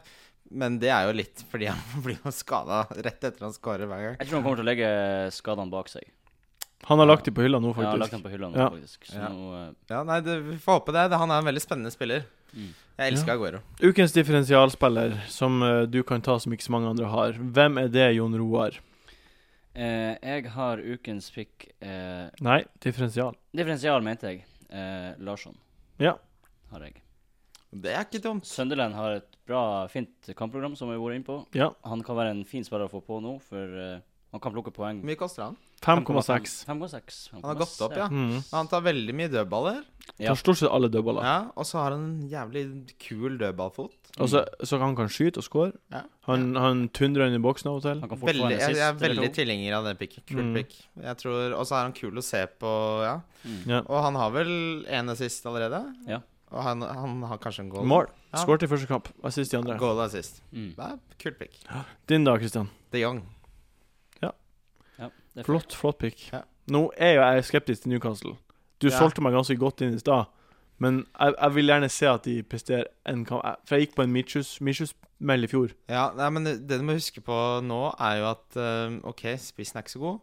Men det er jo litt fordi han <laughs> blir jo skada rett etter han scorer hver gang.
Jeg tror han kommer til å legge skadene bak seg.
Han har lagt dem på hylla nå,
Jeg har lagt
faktisk.
dem på hylla nå,
Ja.
faktisk. Så
Ja.
nå eh,
Ja, nei, det, Vi får håpe det. det. Han er en veldig spennende spiller.
Mm.
Jeg elsker Aguero.
Ukens differensialspiller, som eh, du kan ta som ikke så mange andre har. Hvem er det, Jon Roar?
eh, Jeg har ukens pick eh,
Nei, differensial.
Differensial, mente jeg. Eh, Larsson
Ja.
har jeg.
Det er ikke dumt.
Sunderland har et bra, fint kampprogram, som vi har vært inne på.
Ja.
Han kan være en fin spiller å få på nå, for eh, han kan plukke poeng.
Hvor mye koster han?
5,6.
5,6.
Han har gått opp, ja.
Mm.
Han tar veldig mye dødballer.
Ja.
Tar stort sett alle dødballer.
Ja, Og så har han en jævlig kul dødballfot.
Og så, så han kan skyte og score.
Ja.
Han, han tundrer inn i boksen av og til.
Han kan fort få
Veldig,
en
jeg, jeg er
assist eller
veldig
to.
tilhenger av den picken. Kul
Mm.
pick. Jeg tror, Og så er han kul å se på, ja.
Mm.
Ja.
Og han har vel én assist allerede?
Ja.
Og han, han har kanskje en goal.
Mål.
Ja.
Skåret i første kamp, assist i andre.
Goal og assist.
Mm.
Det er kult pick.
Din da, Christian.
De Jong.
Ja, det er flott.
Flott, flott pick.
Ja.
Nå er jo jeg skeptisk til Newcastle. Du
Ja.
solgte meg ganske godt inn i stad, men jeg, jeg vil gjerne se at de presterer en kamp. Jeg- For jeg gikk på en Mitchus-meld i fjor.
Ja, nei, men det det du må huske på nå, er jo at eh, OK, spissen er ikke så god.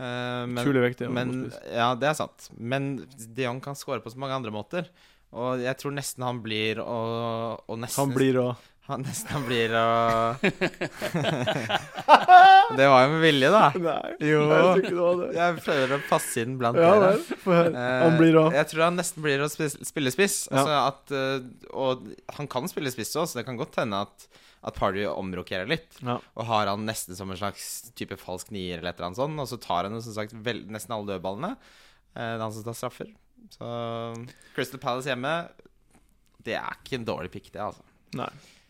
eh, men,
Utrolig viktig. å
men
spise.
Ja, det er sant. Men de Jong kan score på så mange andre måter. Og jeg tror nesten han blir å og nesten,
han blir å
<laughs> han, nesten han blir å
<laughs>
Det var jo med vilje, da.
Nei,
Jo.
jeg tror ikke det var det.
Jeg prøver å passe inn blant
Ja
dere.
vel, få høre.
Eh,
Han blir å
Jeg tror han nesten blir å spille, spille spiss. Altså at, eh, og han kan spille spiss òg, så det kan godt hende at, at Party omrokerer litt.
Ja.
Og har han nesten som en slags type falsk nier eller et eller annet sånt. Og så tar han jo som sagt vel, nesten alle dødballene. Eh, det er han som tar straffer. Så Crystal Palace hjemme, det er ikke en dårlig pick, det, altså.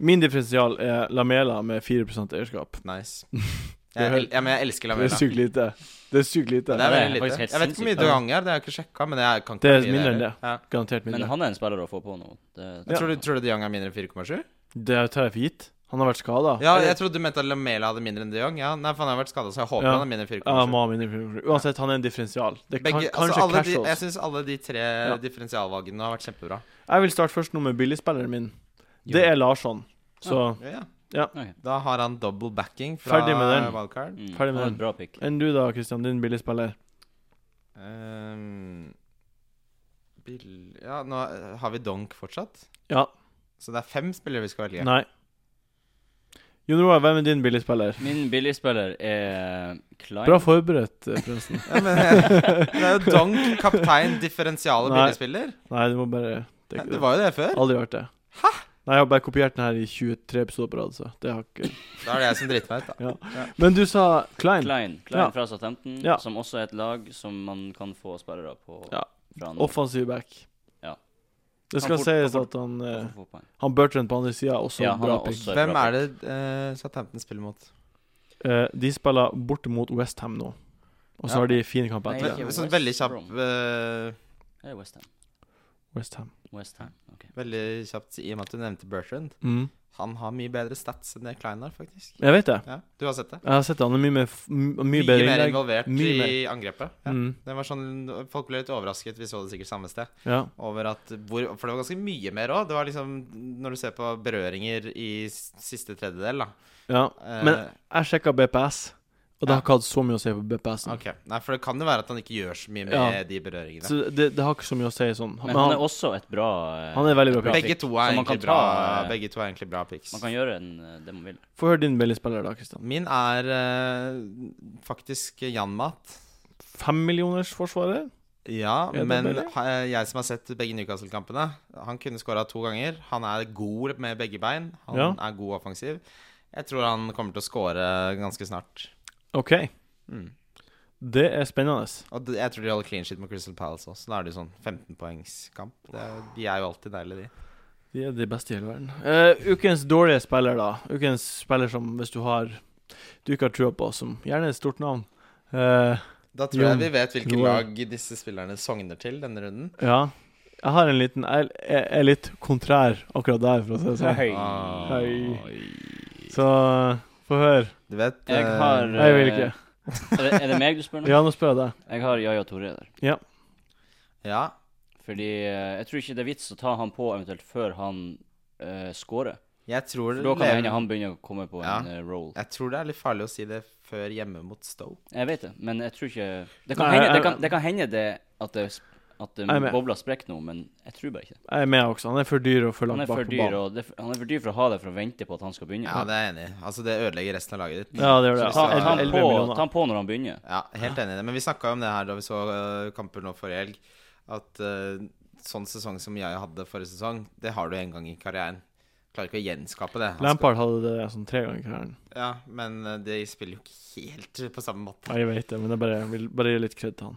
Min differensial er Lamela med 4 eierskap. <laughs>
Nice.
Det er
Jeg,
helt-
el- ja, men jeg elsker
Det er
Lamela.
sykt lite. Det er sykt lite.
Det er
Det
veldig
er
lite.
faktisk helt
Jeg vet ikke hvor mye
sinnssykt.
du ganger, det har jeg ikke sjekka. Men jeg kan ikke
Det er
mye
mindre enn
heller. Ja.
Garantert
Men
mindre.
han er en spiller å få på nå. Det,
Ja.
Tror, du, tror du de Jong er mindre enn 4,7?
Det tar jeg for gitt. Han har vært skada.
Ja, jeg trodde du mente at Lamela hadde mindre enn de Jong. Ja, nei, for han har vært skada, så jeg håper
Ja.
han har mindre enn 4,7.
Ja, må ha mindre for- Uansett, han er en differensial. Det kan,
Begge, altså,
kanskje
alle de, jeg
casuals.
syns alle de tre differensialvalgene har vært kjempebra.
Jeg vil starte først nå med billigspilleren min. Det
Jo.
er Larsson. Så
Ja.
Ok.
Da har han double backing fra
Ferdig med den.
wildcard.
Mm.
Ferdig med
han er
den.
et bra pick.
enn du da, Christian, din billigspiller.
Ehm, Bill Ja, nå har vi Donk fortsatt.
Ja.
Så det er fem spillere vi skal velge.
Nei. Jon Roar, hvem er din billigspiller?
Min billigspiller er Klein.
Bra forberedt, eh, forresten.
Ja, men, <laughs> det er jo Donk, kaptein, differensiale
Nei.
billigspiller.
<laughs> Nei, du må bare det,
Det var jo det før.
Aldri hørt det. Nei, jeg har bare kopiert den her i 23 episoder på rad, så det har ikke
Da er det jeg som driter meg ut, da.
Men du sa Klein.
Klein, Klein
Ja.
fra Southampton,
Ja.
som også er et lag som man kan få spillere på
Ja.
fra nå.
Offensiv back.
Ja.
Det skal
Han får-
sies
han får-
at han eh,
Han får poeng.
Han Bertrand på andre sida er også
Ja,
en
han
bra
er
pick.
også et
Hvem
bra
er det uh, Southampton spiller mot?
Eh, de spiller borte mot Westham nå, og så
Ja.
har de fine kamper
Nei,
etter
ikke
det.
Sånn
West
veldig kjapp
Brom.
eh,
pick. Er det West Ham?
Westham.
West Ham. ok.
Veldig kjapt i og med at du nevnte Bertrand.
Mm.
Han har mye bedre stats enn det Klein har, faktisk.
Jeg vet det.
Ja, Du har sett det?
Jeg har sett det. Han er mye, mer, f- m- mye
Mye
bedre
mer
innlegg.
involvert
Mye
i angrepet. Ja.
Mm,
Det var sånn, Folk ble litt overrasket, vi så det sikkert samme sted,
ja.
over at hvor, For det var ganske mye mer òg. Det var liksom Når du ser på berøringer i s- siste tredjedel, da.
ja.
Eh,
Men- Jeg sjekka BPS, og det
Ja.
har ikke hatt så mye å si på BPS-en.
Ok. Nei, for det kan jo være at han ikke gjør så mye med
Ja.
de berøringene.
Så det, det har ikke så mye å si sånn.
Men han er også et bra eh,
han er veldig bra
et
pick.
Begge
pick.
to,
Så
er
man kan
egentlig bra,
ta, eh,
begge to er egentlig bra picks.
Man kan gjøre en, eh, det man vil.
Få høre din billigspiller, da, Kristian.
Min er eh, faktisk Janmat.
Femmillionersforsvarer?
Ja,
Er det
men
billig?
ha- jeg som har sett begge Newcastle-kampene Han kunne skåra to ganger. Han er god med begge bein. Han
Ja.
er god offensiv. Jeg tror han kommer til å skåre ganske snart. Mm.
OK. Det er spennende.
Og det- jeg tror de holder clean shit med Crystal Palace også. Så Da er det jo sånn 15-poengskamp. Det- De er jo alltid deilige, de.
De er de beste i hele verden. Eh, ukens dårlige spiller, da. Ukens spiller som, hvis du har Du ikke har trua på, som gjerne er et stort navn. Eh,
Da tror
Jo,
jeg vi vet hvilke
Roar.
lag disse spillerne sogner til denne runden.
ja. Jeg har en liten Jeg jeg er litt kontrær akkurat der, for å si det sånn.
Hei.
Ah.
Hei. Så eh, få høre.
Du vet
Jeg
eh,
har eh,
Jeg vil ikke.
Er det, er det meg du spør nå?
Ja, nå spør jeg deg.
Jeg har Yaya Torre der.
Ja.
Fordi eh, jeg tror ikke det er vits å ta han på eventuelt før han eh, scorer.
Jeg tror
For da kan det
Leven-
hende han begynner å komme på
Ja.
en eh, roll.
Jeg tror det er litt farlig å si det før hjemme mot Stoke.
Jeg vet det, men jeg tror ikke Det kan
Nei,
hende,
jeg-
det, kan, det, kan hende det at det at det
Jeg er med.
bobla sprekker nå, men jeg tror bare ikke det.
Jeg er med også. Han er for dyr og for
Han
langt
er
bak
for
på
dyr,
banen.
og det, han er for dyr for å ha det for å vente på at han skal begynne.
Ja, det er jeg enig i. Altså, det ødelegger resten av laget ditt.
Ja, det gjør det. Altså,
ta,
Ja,
ta, han
Elleve
på,
millioner.
ta han på når han begynner.
Ja, helt enig i det. Men vi snakka om det her da vi så øh, kamper nå forrige helg, at øh, sånn sesong som jeg hadde forrige sesong, det har du en gang i karrieren. Klarer ikke å gjenskape det. Han
Lampard hadde det sånn tre ganger i karrieren.
spil- Ja, men øh, de spiller jo ikke helt <laughs> på samme måte.
Ja, Jeg vet det, men jeg bare, vil bare gi litt kred til han.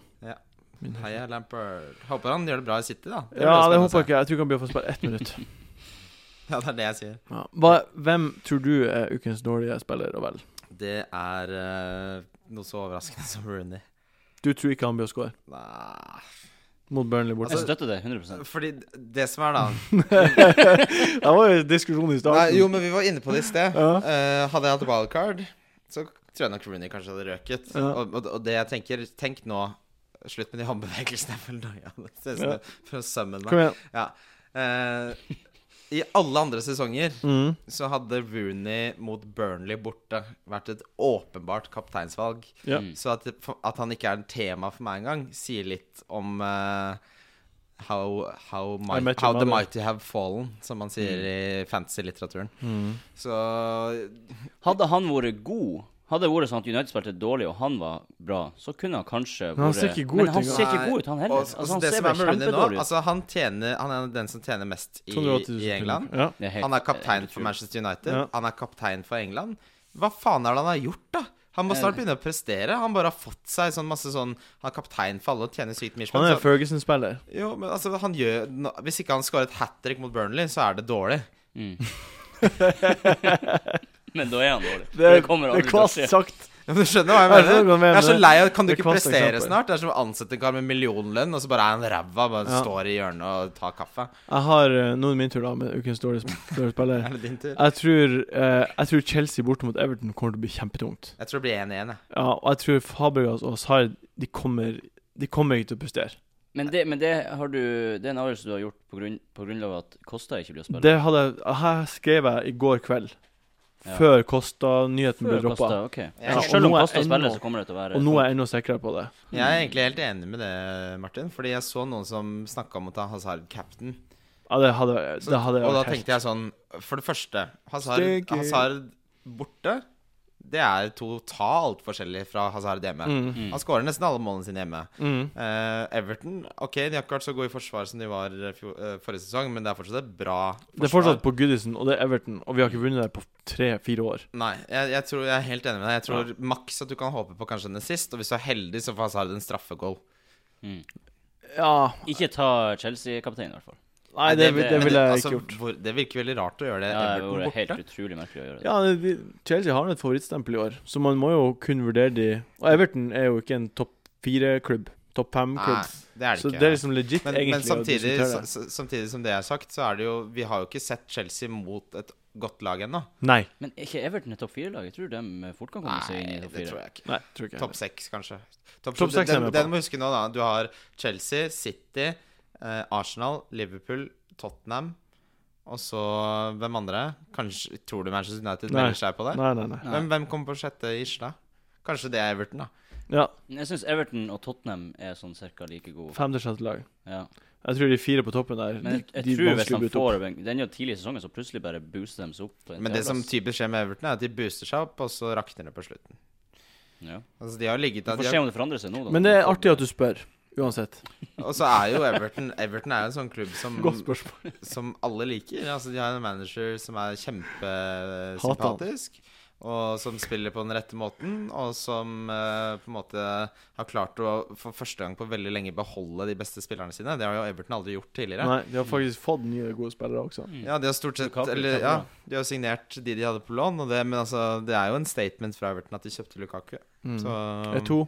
Heia Lampard. Håper han gjør det bra i City, da.
Ja,
blir jo
det
spennende å
håper jeg
se.
ikke. Jeg tror ikke han blir å få spille ett minutt. <laughs>
<laughs> Ja, det er det jeg sier.
Ja. Hva, hvem tror du er ukens dårlige spiller og vel?
Det er eh, øh, noe så overraskende som Rooney.
Du tror ikke han blir å score?
Nei
mot Burnley borte.
Altså-
Jeg støtter det 100
Fordi det som er, da
<laughs> det var jo diskusjon i starten.
Nei, Jo, men vi var inne på det i sted.
Ja.
Eh, hadde jeg hatt wildcard, så tror jeg nok Rooney kanskje hadde røket.
Ja.
Og, og, og det jeg tenker Tenk nå Slutt med de håndbevegelsene jeg føler noia av. Det ser ut som
Ja.
det- For å summe meg.
Kom igjen.
Ja. Eh, I alle andre sesonger
Mm.
så hadde Rooney mot Burnley borte vært et åpenbart kapteinsvalg.
Ja.
Mm.
Så at, det- at han ikke er en tema for meg engang, sier litt om eh, how, how,
I
mi-
met your
how the
mother.
mighty have fallen, som man sier
Mm.
i fantasy-litteraturen.
Mm.
Så
Hadde han vært god hadde det vært sånn at United spilte dårlig og han var bra, så kunne han kanskje vært
Men han ser ikke god
Men
ut
han
engang.
ser ikke god ut, han heller.
Og- og
altså, han
det
ser
som er
bare
med Rooney nå,
kjempedårlig ut.
altså, han, tjener, han er den som tjener mest i,
280 000
i England.
kroner.
Det er helt- eh,
Han er kaptein
helt
for
sjukt.
Manchester United.
Ja.
Han er kaptein for England. Hva faen er det han har gjort, da? Han må snart begynne å prestere. Han bare har fått seg sånn masse sånn Han er kaptein for alle og tjener sykt mye.
Ja. Han
spenn,
er
så-
Ferguson-spiller.
Jo, men altså, han gjør nå- Hvis ikke han scorer et hat trick mot Burnley, så er det dårlig. <laughs>
Mm.
<laughs>
<laughs> Men da er han dårlig.
Det er,
kommer
det
aldri
er
til å
kvass
skje.
sagt.
Ja, men du skjønner hva
Jeg
jeg
skjønner hva du
mener?
mener.
Jeg er så lei av Kan du
Det er
ikke
kvast
prestere
eksempel.
snart? Det er som å ansette en kar med millionlønn, og så bare er han ræva. Bare
Ja.
står i hjørnet og tar kaffe.
Jeg har eh, Nå er det min tur, da, med ukens dårlige sp- dårlige
<laughs>
spiller.
Er det din tur?
Jeg tror, eh, jeg tror Chelsea borte mot Everton kommer til å bli kjempetungt.
Jeg tror det blir 1-1, jeg.
Ja, og jeg tror Fabregas og Hazard de kommer, de kommer ikke til å prestere.
Men det, men det har du Det er en avgjørelse du har gjort på, grunn, på grunnlag av at Kosta ikke blir å spille.
Det hadde, jeg- her skrev jeg i går kveld,
Ja.
før Kosta-nyheten ble
Før
droppa.
Costa, ok.
Ja,
Så
og
selv om
nå er
Kosta
ennå-
spiller, så kommer det til å være
Og nå er jeg enda sikrere på det.
Jeg er egentlig helt enig med det, Martin. Fordi jeg så noen som snakka om å ta Hazard captain.
Ja, det hadde,
Så-
det hadde
og da
vært helt-
tenkte jeg sånn For det første, Hazard,
Stinky.
Hazard borte det er totalt forskjellig fra Hazard hjemme.
Mm.
Mm.
Han skårer nesten alle målene sine hjemme. Eh, Everton ok, de har ikke vært så gode i forsvar som de var eh, fjor, eh, forrige sesong, men det er fortsatt et bra forsvar.
Det er fortsatt på Goodison, og det er Everton, og vi har ikke vunnet der på tre-fire år.
Nei, jeg, jeg, tror, jeg er helt enig med deg. Jeg tror maks at du kan håpe på kanskje en assist, og hvis du er heldig, så får Hazard en straffegoal.
Ja,
Ikke ta Chelsea-kapteinen, i hvert fall.
nei, det, det,
men
ville jeg
altså,
ikke gjort.
Hvor, det virker veldig rart å gjøre det.
Ja, det
Everton
var
borte.
helt utrolig merkelig å gjøre det.
Ja, det- vi- Chelsea har et favorittstempel i år, så man må jo kun vurdere de Og Everton er jo ikke en topp fire-klubb, topp
Nei,
fem-klubb,
det er det
så
ikke.
det er liksom legit,
men,
egentlig,
men samtidig,
å diskutere
sa-
det.
sa- samtidig som det er sagt, så er det jo Vi har jo ikke sett Chelsea mot et godt lag ennå.
Nei.
Men er ikke Everton et topp fire-lag? Jeg tror de fort kan komme seg inn i
Nei,
topp
det tror
fire.
jeg ikke.
Nei, tror ikke jeg.
Topp seks, kanskje. Topp
Topp
sju.
seks er jeg
den,
med
den
på.
må du huske nå, da. Du har Chelsea, City, eh, Arsenal, Liverpool, Tottenham. Og så hvem andre? Kanskje, tror du Manchester United
Nei.
melder seg på der?
Nei, nei, nei.
Hvem, hvem kommer på sjette i Isla? Kanskje det er Everton, da.
Ja,
Jeg syns Everton og Tottenham er sånn cirka like gode.
femte-sjette lag.
Ja.
Jeg tror de fire på toppen der
Men jeg,
de- de
jeg tror
vanskelig
hvis
å
han
bryte opp.
får den den er jo tidlig i sesongen, så plutselig bare booster de seg opp. på en
Men det som
tredjeplass.
typisk skjer med Everton, er at de booster seg opp, og så rakner det på slutten.
ja.
Altså, de har ligget
Vi
der de
får
har-
se om det forandrer seg nå, da.
Men det er artig at du spør, uansett.
Og så er jo Everton Everton er jo en sånn klubb som,
Godt spørsmål.
som alle liker. Altså, de har en manager som er kjempesympatisk, og som spiller på den rette måten, og som eh, på en måte har klart å for første gang på veldig lenge beholde de beste spillerne sine. Det har jo Everton aldri gjort tidligere.
Nei, de har faktisk fått nye, gode spillere også.
Ja, de har stort sett
Lukaku,
Eller
Lukaku,
ja,
da.
de har signert de de hadde på lån, og det, men altså, det er jo en statement fra Everton at de kjøpte Lukaku.
Mm.
Så um,
E2,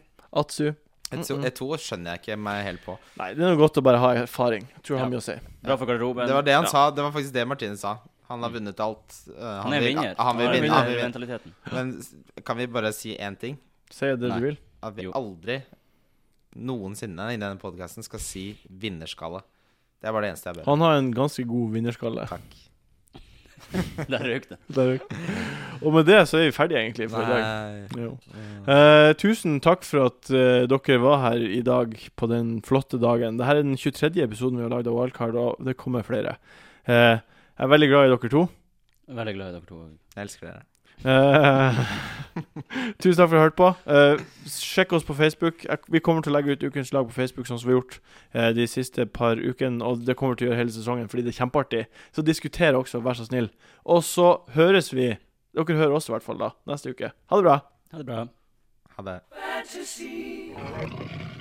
Atsu
Eto- Eto skjønner jeg ikke meg helt på.
Nei, det er noe godt å bare ha erfaring. Jeg tror jeg har
Ja.
mye å si.
Bra for garderoben.
Det var det han
Ja.
sa. Det var faktisk det Martine sa. Han har vunnet alt. Eh, han,
Mm. Han er
vil,
vinner.
Han vil
er
vinne. Han vil vinne.
Mentaliteten. <laughs>
Men s- kan vi bare si én ting?
Si det
Nei.
du vil.
At vi
Jo.
aldri noensinne i denne podkasten skal si vinnerskalle. Det er bare det eneste jeg ber
Han
om.
har en ganske god vinnerskalle.
Takk.
Der røk det.
Der ute. Og med det så er vi ferdige, egentlig, for i dag.
Nei.
Jo. Eh, tusen takk for at eh, dere var her i dag på den flotte dagen. Dette er den 23. episoden vi har lagd av Wildcard, og det kommer flere. Eh, jeg er veldig glad i dere to.
Veldig glad i dere to òg.
Jeg elsker dere.
Eh, <laughs> tusen takk for at du hørte på. Eh, sjekk oss på Facebook. Jeg, vi kommer til å legge ut ukens lag på Facebook, sånn som vi har gjort eh, de siste par ukene. Og det kommer til å gjøre hele sesongen, fordi det er kjempeartig. Så diskuter også, vær så snill. Og så høres vi. Dere hører oss i hvert fall da, neste uke. Ha det bra.
Ha det bra.
Ha det.
fantasy.